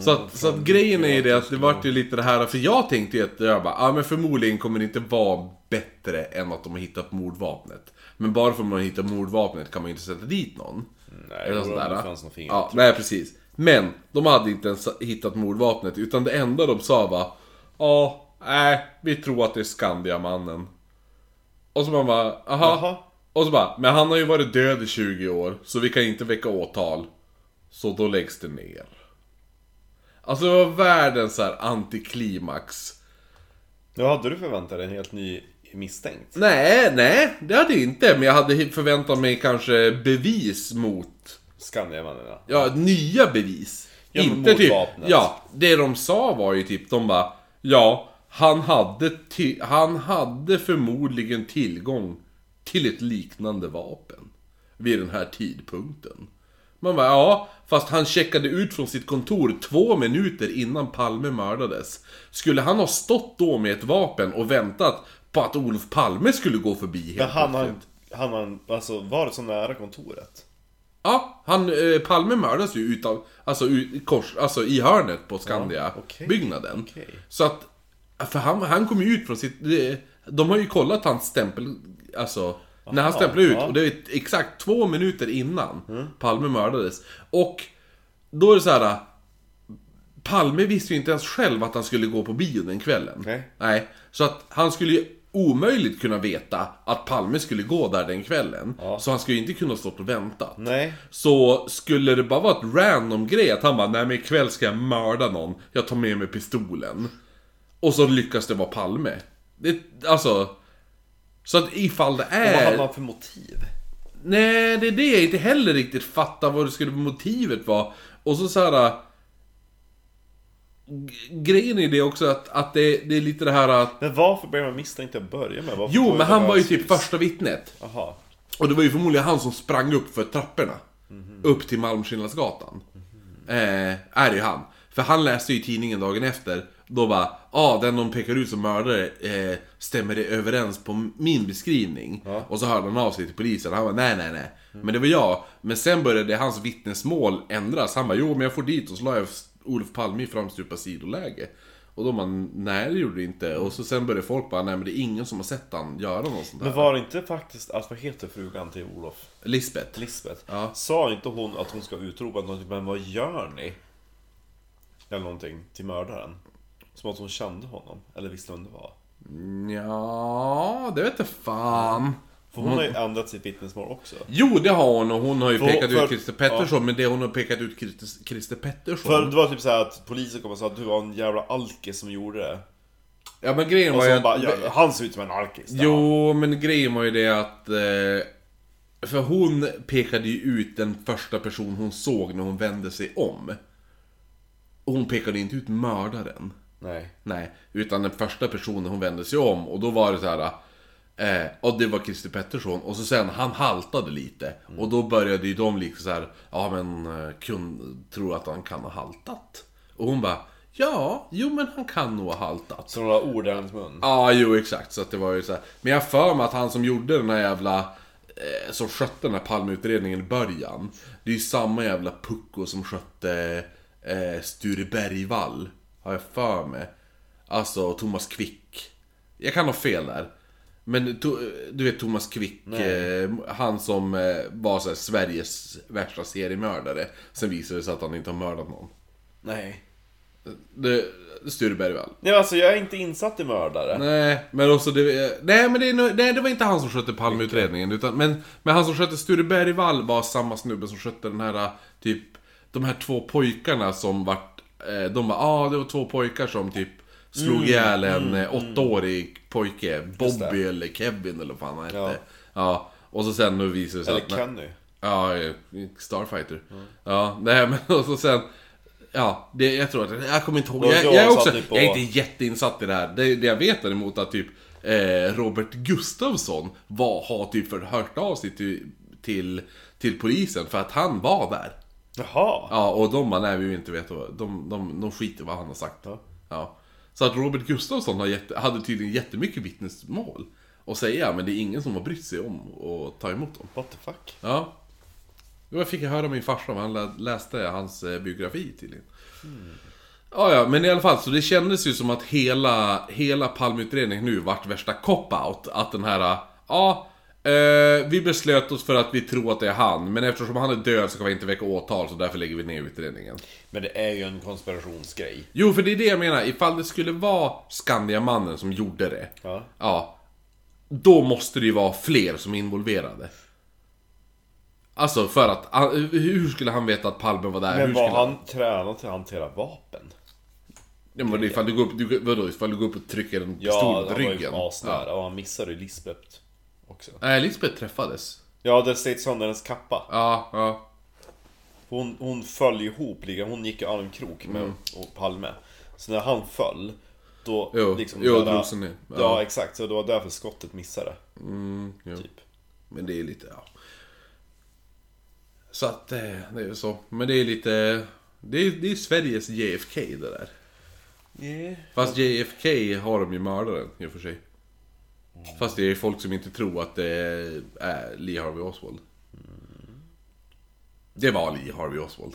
Så att, så att grejen är ju det att det vart ju lite det här, för jag tänkte ju att jag bara, ja men förmodligen kommer det inte vara bättre än att de har hittat mordvapnet. Men bara för att man hittar mordvapnet kan man ju inte sätta dit någon. Nej, Eller jag sånt tror där. att det fanns något fint. Ja, nej precis. Men de hade inte ens hittat mordvapnet utan det enda de sa var Ja, nej, vi tror att det är Skandiamannen. Och så man bara, aha. Jaha. Och så bara, men han har ju varit död i 20 år så vi kan inte väcka åtal. Så då läggs det ner. Alltså det var världens så här antiklimax. Nu hade du förväntat dig en helt ny misstänkt. Nej, nej, det hade jag inte. Men jag hade förväntat mig kanske bevis mot Skandiamannen ja. Ja, nya bevis. Ja, men inte mot typ, vapnet. ja, det de sa var ju typ, de bara, ja, han hade, ti- han hade förmodligen tillgång till ett liknande vapen vid den här tidpunkten. Man bara, ja, fast han checkade ut från sitt kontor två minuter innan Palme mördades. Skulle han ha stått då med ett vapen och väntat på att Olof Palme skulle gå förbi helt Men han har, plötsligt? han har, alltså var det så nära kontoret? Ja, han, eh, Palme mördas ju utav, alltså, ut, kors, alltså i hörnet på okej. Skandia-byggnaden. Okej. Så att, för han, han kom ju ut från sitt, eh, de har ju kollat hans stämpel, alltså, när han stämplade ut. ja. Mm. Och det är exakt två minuter innan Palme mördades. Och då är det så här. Palme visste ju inte ens själv att han skulle gå på bio den kvällen. Nej. Nej. Så att han skulle ju omöjligt kunna veta att Palme skulle gå där den kvällen. Så han skulle ju inte kunna ha stått och väntat. Nej. Så skulle det bara vara ett random grej att han bara Nej men ikväll ska jag mörda någon Jag tar med mig pistolen Och så lyckas det vara Palme det, Alltså Så att ifall det Vad är hade han för motiv? Nej det är det jag inte heller riktigt fattar Vad det skulle motivet vara Och så så här. äh, g- Grejen i det också att, att det, det är lite det här att Men varför blev han misstänkt till att börja med? Varför Jo tog men han var ju hans typ hus? första vittnet Jaha. Och det var ju förmodligen han som sprang upp för trapporna. Upp till Malmskillnadsgatan. Eh, är det ju han. För han läste ju i tidningen dagen efter. Då bara, ja ah, den de pekar ut som mördare eh, stämmer det överens på min beskrivning. Och så hörde han av sig till polisen. Han var nej nej nej. Men det var jag. Men sen började hans vittnesmål ändras. Han bara, jo men jag får dit och så la jag Olof Palme i framstupa sidoläge. Och då man, nej det gjorde det inte. Och så sen började folk bara, nej men det är ingen som har sett han göra något sånt där. Men var det inte faktiskt, att vad heter frugan till Olof? Lisbeth. Lisbeth. Ja. Sa inte hon att hon ska utropa någonting, men vad gör ni? Eller någonting till mördaren. Som att hon kände honom, eller visste vem det var. Ja, det vet jag fan. För hon har Mm. ju ändrat sitt vittnesmål också. Jo, det har hon och hon har ju För- pekat för- ut Christer Pettersson, men det hon har pekat ut Christer, Christer Pettersson. För det var typ så här att polisen kom och sa att du var en jävla alkis som gjorde det. Ja, men grejen Och var så ju hon att... bara, ja, han ser ut som en alkis. där." Jo, men grejen var ju det att... Eh, för hon pekade ju ut den första person hon såg när hon vände sig om. Och hon pekade inte ut mördaren. Nej. Nej, utan den första personen hon vände sig om och då var det så här. Eh, och det var Christer Pettersson och så sen han haltade lite och då började ju de liksom så här. Ja men eh, kun, tror att han kan ha haltat. Och hon bara. Ja, jo men han kan nog ha haltat. Så några ord i hans mun. Ja, jo exakt. Så att det var ju så här. Men jag har för mig att han som gjorde den här jävla eh, som skötte den här Palmeutredningen i början. Det är ju samma jävla pucko som skötte eh, Sture Bergvall. Har jag för mig. Alltså Thomas Quick. Jag kan ha fel där. Men to, du vet Thomas Quick, eh, han som eh, var så här, Sveriges värsta seriemördare. Sen visade det sig att han inte har mördat någon. Nej. Det, Sture Bergvall. Nej alltså jag är inte insatt i mördare. Nej, men också det, nej, men det, är nog- nej, det var inte han som skötte Palmeutredningen. Utan, men, men han som skötte Sture Bergvall var samma snubbe som skötte den här, typ, de här två pojkarna som vart, eh, de var, ah, det var två pojkar som typ slog ihjäl en eh, åttaårig pojke, Bobby eller Kevin eller vad fan han hette. Ja. Ja. och så sen nu visade det sig Eller att... Kenny. Ja, eh, Starfighter. Ja, nej men och så sen... Ja, det, jag tror att... Jag kommer inte ihåg. Då- Jag, då jag, är satt också, ni på- jag är inte jätteinsatt i det här. Det, det jag vet däremot att typ eh, Robert Gustafsson var, har typ för, hört av sig till, till, till polisen för att han var där. Jaha. Ja, och de bara nej, vi vill inte veta vad... De, de, de skiter i vad han har sagt. Ja. Ja. Så att Robert Gustafsson har jätte, hade tydligen jättemycket vittnesmål att säga, men det är ingen som har brytt sig om att ta emot dem. What the fuck? Ja. Jo, jag fick höra av min farsa, men han lä- läste hans eh, biografi tydligen. Ja, ja, men i alla fall, så det kändes ju som att hela, hela Palmeutredningen nu vart värsta cop-out. Att den här, ja, eh, vi beslöt oss för att vi tror att det är han, men eftersom han är död så kan vi inte väcka åtal, så därför lägger vi ner utredningen. Men det är ju en konspirationsgrej. Jo, för det är det jag menar, ifall det skulle vara Skandiamannen som gjorde det, Ja. Ja. Då måste det ju vara fler som är involverade. Alltså för att, han- hur skulle han veta att Palme var där? hur Men skulle var han tränad till att hantera vapen? Ja, men ifall du går upp, du, vadå, ifall du går upp och trycker en Ja, pistol han mot var ju ryggen? asnära och han missade ju Lisbeth också. Nej, Lisbeth träffades. Ja, där slet sönder hennes kappa. Ja, ja. Hon, hon föll ju ihop, liksom. hon gick i armkrok med Mm. och Palme. Så när han föll, då Jo, liksom... jo, där- drog sig ner. Ja. Mm, Ja. exakt. Så det var därför skottet missade. jo. Typ. Men det är lite, ja. Så att, eh, det är ju så. Men det är lite, det är, det är Sveriges JFK det där. Fast JFK har de ju mördaren i och för sig. Fast det är folk som inte tror att det är Lee Harvey Oswald. Det var Lee Harvey Oswald.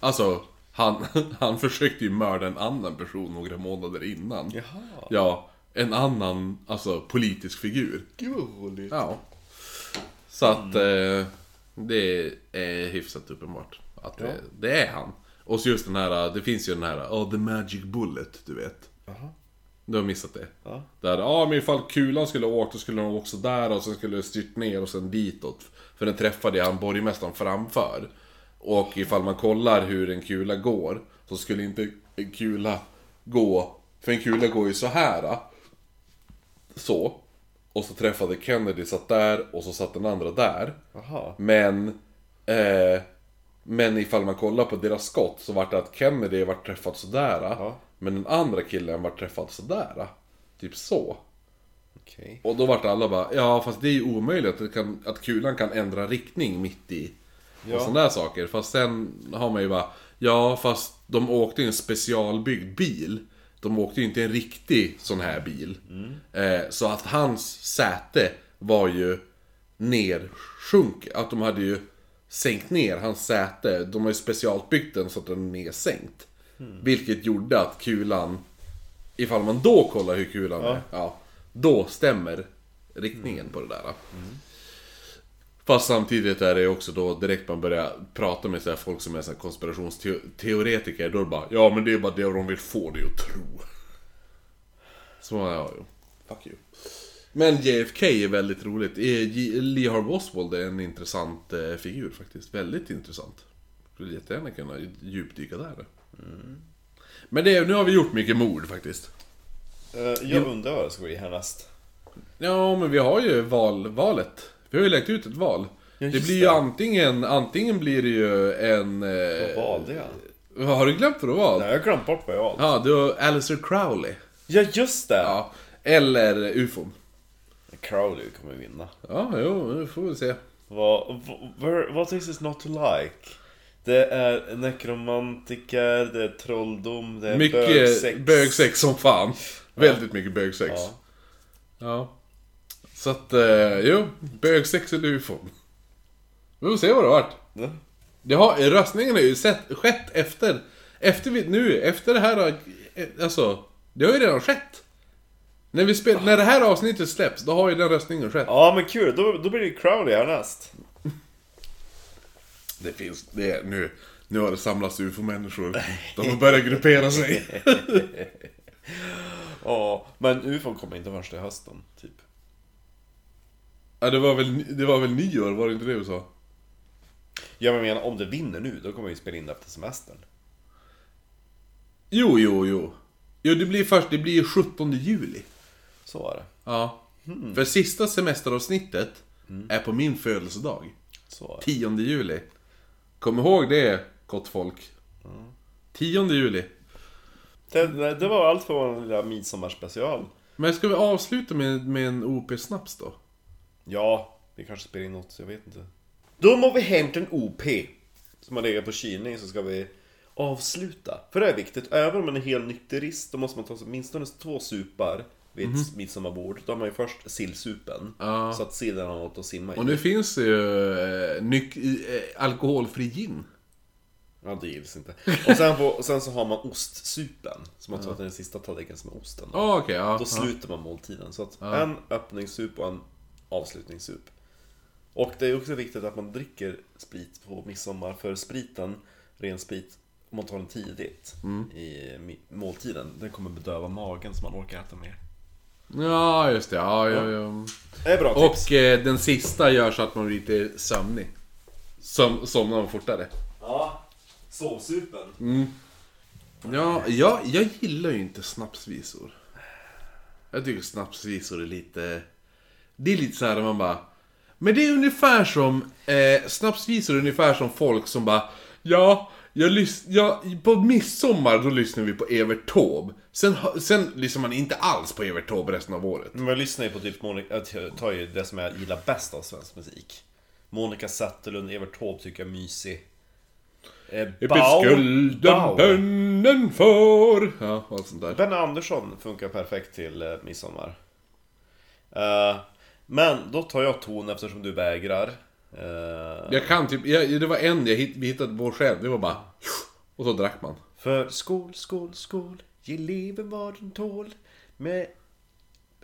Alltså, han, han försökte ju mörda en annan person några månader innan. Jaha. Ja, en annan, alltså politisk figur. Gud vad roligt. Ja. Så att eh, det är hyfsat uppenbart att det, det är han. Och så just den här, det finns ju den här, oh the magic bullet, du vet. Jaha. Du har missat det. Ja. Där, ja men ifall kulan skulle ha åkt, då skulle den ha åkt sådär och sen skulle det styrt ner och sen ditåt. För den träffade han borgmästaren framför. Och ifall man kollar hur en kula går, så skulle inte en kula gå, för en kula går ju så här. ah, Så. Och så träffade Kennedy, satt där och så satt den andra där. Jaha. Men, eh, men ifall man kollar på deras skott så vart det att Kennedy vart träffad sådär. Ja. Men den andra killen vart träffad sådär. Typ så. Okej. Och då vart alla bara, ja fast det är ju omöjligt att, det kan, att kulan kan ändra riktning mitt i. Ja. Och sådana där saker. Fast sen har man ju bara, ja fast de åkte i en specialbyggd bil. De åkte ju inte i en riktig sån här bil. Eh, så att hans säte var ju nedsjunk. Att de hade ju sänkt ner hans säte. De har ju specialbyggt den så att den är nedsänkt. Vilket gjorde att kulan Ifall man då kollar hur kul han är, ja, då stämmer riktningen på det där. Fast samtidigt är det också då direkt man börjar prata med så här folk som är så här konspirationsteoretiker, då är det bara ja men det är bara det de vill få dig att tro. Så ja, jo. Fuck you. Men JFK är väldigt roligt. Eh, J- Lee Harvey Oswald är en intressant eh, figur faktiskt. Väldigt intressant. Skulle jättegärna kunna djupdyka där. Men det, nu har vi gjort mycket mord faktiskt. Eh, jag undrar vad det ska bli härnäst. Ja, men vi har ju val, valet. Vi har ju lagt ut ett val. det just blir ju det. antingen, antingen blir det ju en... Eh, Vad valde jag? vad har du glömt för det val? Nej, jag har glömt bort vad jag valde. Ja, du har Alistair Crowley. Ja, just det! Ja, eller ufon. Crowley kommer vinna. Ja, jo, nu får vi se. Vad, vad, what is it not to like? Det är nekromantiker, det är trolldom, det är Mycket bögsex, bögsex. som fan. Väldigt mycket bögsex. Ja. Ja. Så att, eh, jo. Bögsex eller ufon. Vi får se vad det vart. Ja. Det har, röstningen har ju sett, skett efter, efter vi, nu, efter det här har, eh, alltså, det har ju redan skett. När, vi spel, när det här avsnittet släpps, då har ju den röstningen skett. Ja men kul, då, då blir det Crowley härnäst. Det finns, det är, nu, nu har det samlats ufo-människor. De har börjat gruppera sig. Ja, men UFO kommer inte förrän till hösten, typ. Ja, det var väl, det var väl nyår, var det inte det du sa? Ja men jag menar, om det vinner nu, då kommer vi spela in det efter semestern. Jo, jo, jo. Jo, det blir först, det blir ju 17 juli. Så var det. Ja. För sista semesteravsnittet är på min födelsedag. Så var det. 10 juli. Kom ihåg det, gott folk. 10 juli. Det, det var allt för vår lilla midsommarspecial. Men ska vi avsluta med, med en OP-snaps då? Ja, vi kanske spelar in något, jag vet inte. Då må vi hämta en OP. Som har legat på kylning så ska vi avsluta. För det är viktigt, även om man är helt nykterist då måste man ta åtminstone två supar vid ett midsommarbord. Då har man ju först sillsupen. Ja. Så att sillen har något att simma i. Och nu finns det ju eh, nyk- i- eh, alkoholfri gin. Ja, det gills inte. Och sen, får, och sen så har man ostsupen. Som man tror att det är den sista tallriken som är osten. Ja, Ah, okej. ja. Då ja. sluter man måltiden. Så att en öppningssup och en avslutningssup. Och det är också viktigt att man dricker sprit på midsommar. För spriten, ren sprit, om man tar den tidigt i mi- måltiden. Den kommer bedöva magen så man orkar äta mer. Ja, just det. Ja, ja, ja. Det är bra tips. Och eh, den sista gör så att man blir lite sömnig. Som, somnar man fortare. Ja, sovsupen. Ja, jag, jag gillar ju inte snapsvisor. Jag tycker snapsvisor är lite... Det är lite så här där man bara... Men det är ungefär som... Eh, snapsvisor är ungefär som folk som bara... Ja, jag lys- ja, på midsommar då lyssnar vi på Evert Taube. Sen, hö- sen lyssnar man inte alls på Evert Taube resten av året. Men jag lyssnar ju på typ Monica, jag tar ju det som jag gillar bäst av svensk musik. Monica Zetterlund, Evert Taube tycker jag är mysig. Eh, Upp i skulden bönnen för... Ja, och allt sånt där. Ben Andersson funkar perfekt till eh, midsommar. Eh, men då tar jag ton eftersom du vägrar. Eh, Jag kan typ... Jag, det var en jag hitt, vi hittade på själv. Det var bara... Och så drack man. För skål, skål, skål, ge livet vad den tål. Med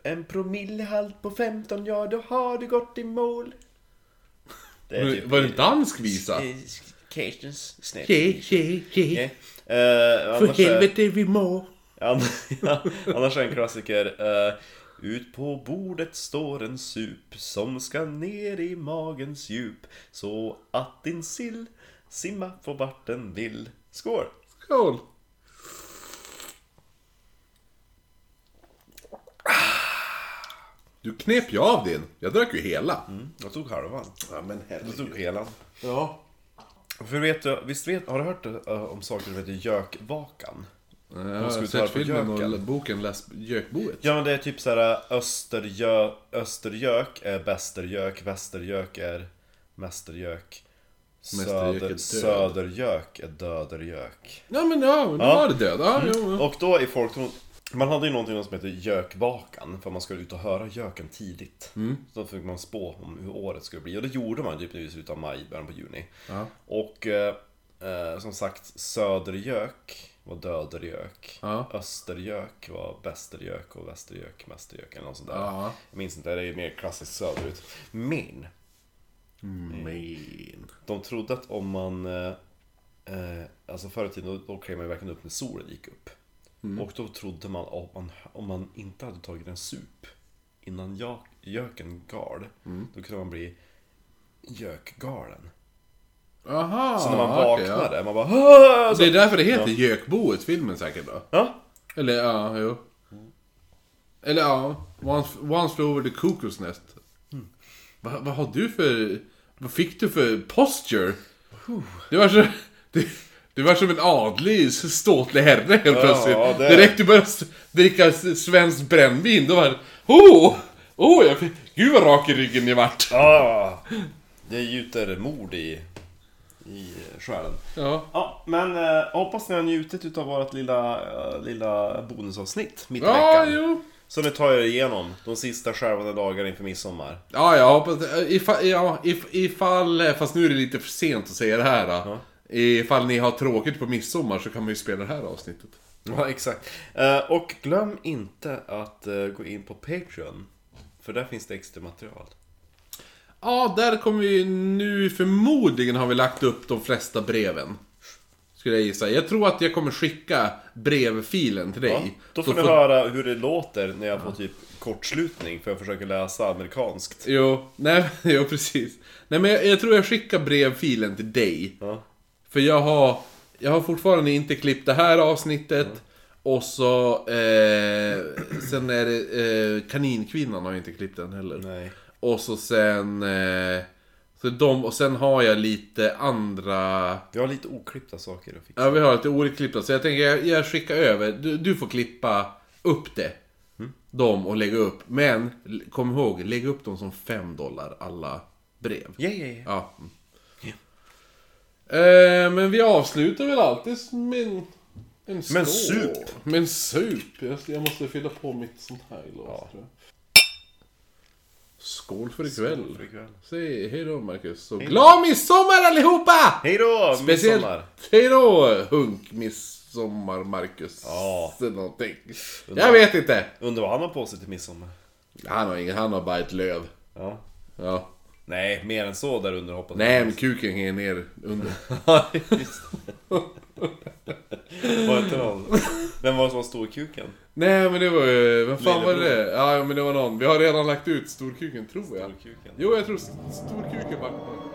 en promillehalt på 15, ja då har du gått i mål. Det är typ- Var det en dansk visa? Eh, Kirstens snäpp. Tje, tje, tje. Okej. Eh, För annars, är, helvete vi må. annars är en klassiker. eh, ut på bordet står en sup som ska ner i magens djup. Så att din sill simma får vart den vill. Skål! Skål! Du knep ju av din. Jag drack ju hela. Jag tog halvan. Ja, men Jag herregud. tog helan. Ja. För vet du, visst vet, har du hört eh, om saker som heter gökvakan? Jag har skulle ta sett på filmen och göken. l- boken Läs Gökboet. Ja men det är typ såhär östergö, östergök är bästergök, västergök är mästergök Mästergök är söder, död. Södergök är dödergök Ja, men ja, nu Ja. var det död. Ja, jo, jo. Och då i folktron Man hade ju någonting som heter gökvakan För man skulle ut och höra göken tidigt Mm. Så då fick man spå om hur året skulle bli Och det gjorde man typ nu i slutet av maj, början på juni Ja. Och eh, eh, som sagt Södergök var dödergök Ja. Östergök var bästergök och västergök, mästergök eller något sånt där Ja. Jag minns inte, det är mer klassiskt söderut Men Mm. Men. de trodde att om man... Eh, eh, alltså förr i tiden, då, då klev man ju verkligen upp när solen gick upp. Mm. Och då trodde man om man, om man inte hade tagit en sup innan jag, göken gal, Mm. då kunde man bli gökgalen. Aha, Så när man Ah, okej, vaknade, ja. man bara "Åh!" Det så, är därför det heter Gökboet, filmen säkert då. ja. Eller ja, jo. Eller ja, Once, once flew over the cuckoo's nest. Vad vad har du för... Vad fick du för posture? Det var så... Det, det var som en adlig, ståtlig herre helt plötsligt. det- Direkt du började s- dricka s- svenskt brännvin, då var det... Oh! Oh, jag fick... Gud vad rak i ryggen ni vart! Ah, det gjuter mod i, i själen. Ja. Ja, men eh, hoppas ni har njutit av vårt lilla, eh, lilla bonusavsnitt mitt i Ja, veckan. jo. Så nu tar jag det igenom de sista skärvande dagarna inför midsommar. Ja, jag hoppas ifall, ja, if- ifall... eh, Fast nu är det lite för sent att säga det här. Då. Ifall ni har tråkigt på midsommar så kan man ju spela det här avsnittet. Ja, exakt. Eh, Och glöm inte att eh, gå in på Patreon. För där finns det extra material. Ja, där kommer vi nu förmodligen har vi lagt upp de flesta breven. Skulle jag gissa. Jag tror att jag kommer skicka brevfilen till dig. Ja, då får ni höra hur det låter när jag får typ kortslutning för jag försöker läsa amerikanskt. Jo, nej, jo precis. Nej men jag, jag tror jag skickar brevfilen till dig. Ja. För jag har, jag har fortfarande inte klippt det här avsnittet. Och så... Eh, sen är det... Eh, kaninkvinnan har jag inte klippt den heller. Nej. Och så sen... Eh, så de, och sen har jag lite andra... Vi har lite oklippta saker att fixa. Ja, vi har lite oliklippta. Så jag tänker, jag, jag skickar över. Du, du får klippa upp det. Mm. Dem och lägga upp. Men l- kom ihåg, lägg upp dem som 5 dollar alla brev. Ja, ja, ja. Ja. Mm. Eh, men vi avslutar väl alltid med en, en skål. Men sup. Med en sup. Jag, jag måste fylla på mitt sånt här glas tror jag. Skål för ikväll. för ikväll. Säg hej då Marcus. Och glad midsommar allihopa! Hej då! Speciellt midsommar! hej då hunk midsommar Marcus. Ja. Eller någonting. Jag vet inte. Undrar vad han har på sig till midsommar? Han har, ingen, han har bara ett löv. Ja. Ja. Nej, mer än så där under hoppas jag. Nej, men kuken hänger ner under. Ja, just det. Var det inte någon? Vem var det som var storkuken? Nej men det var ju, vad fan var Lillebror. det? Ja men det var någon, vi har redan lagt ut storkuken tror jag. Storkuken. Jo jag tror st- storkuken var...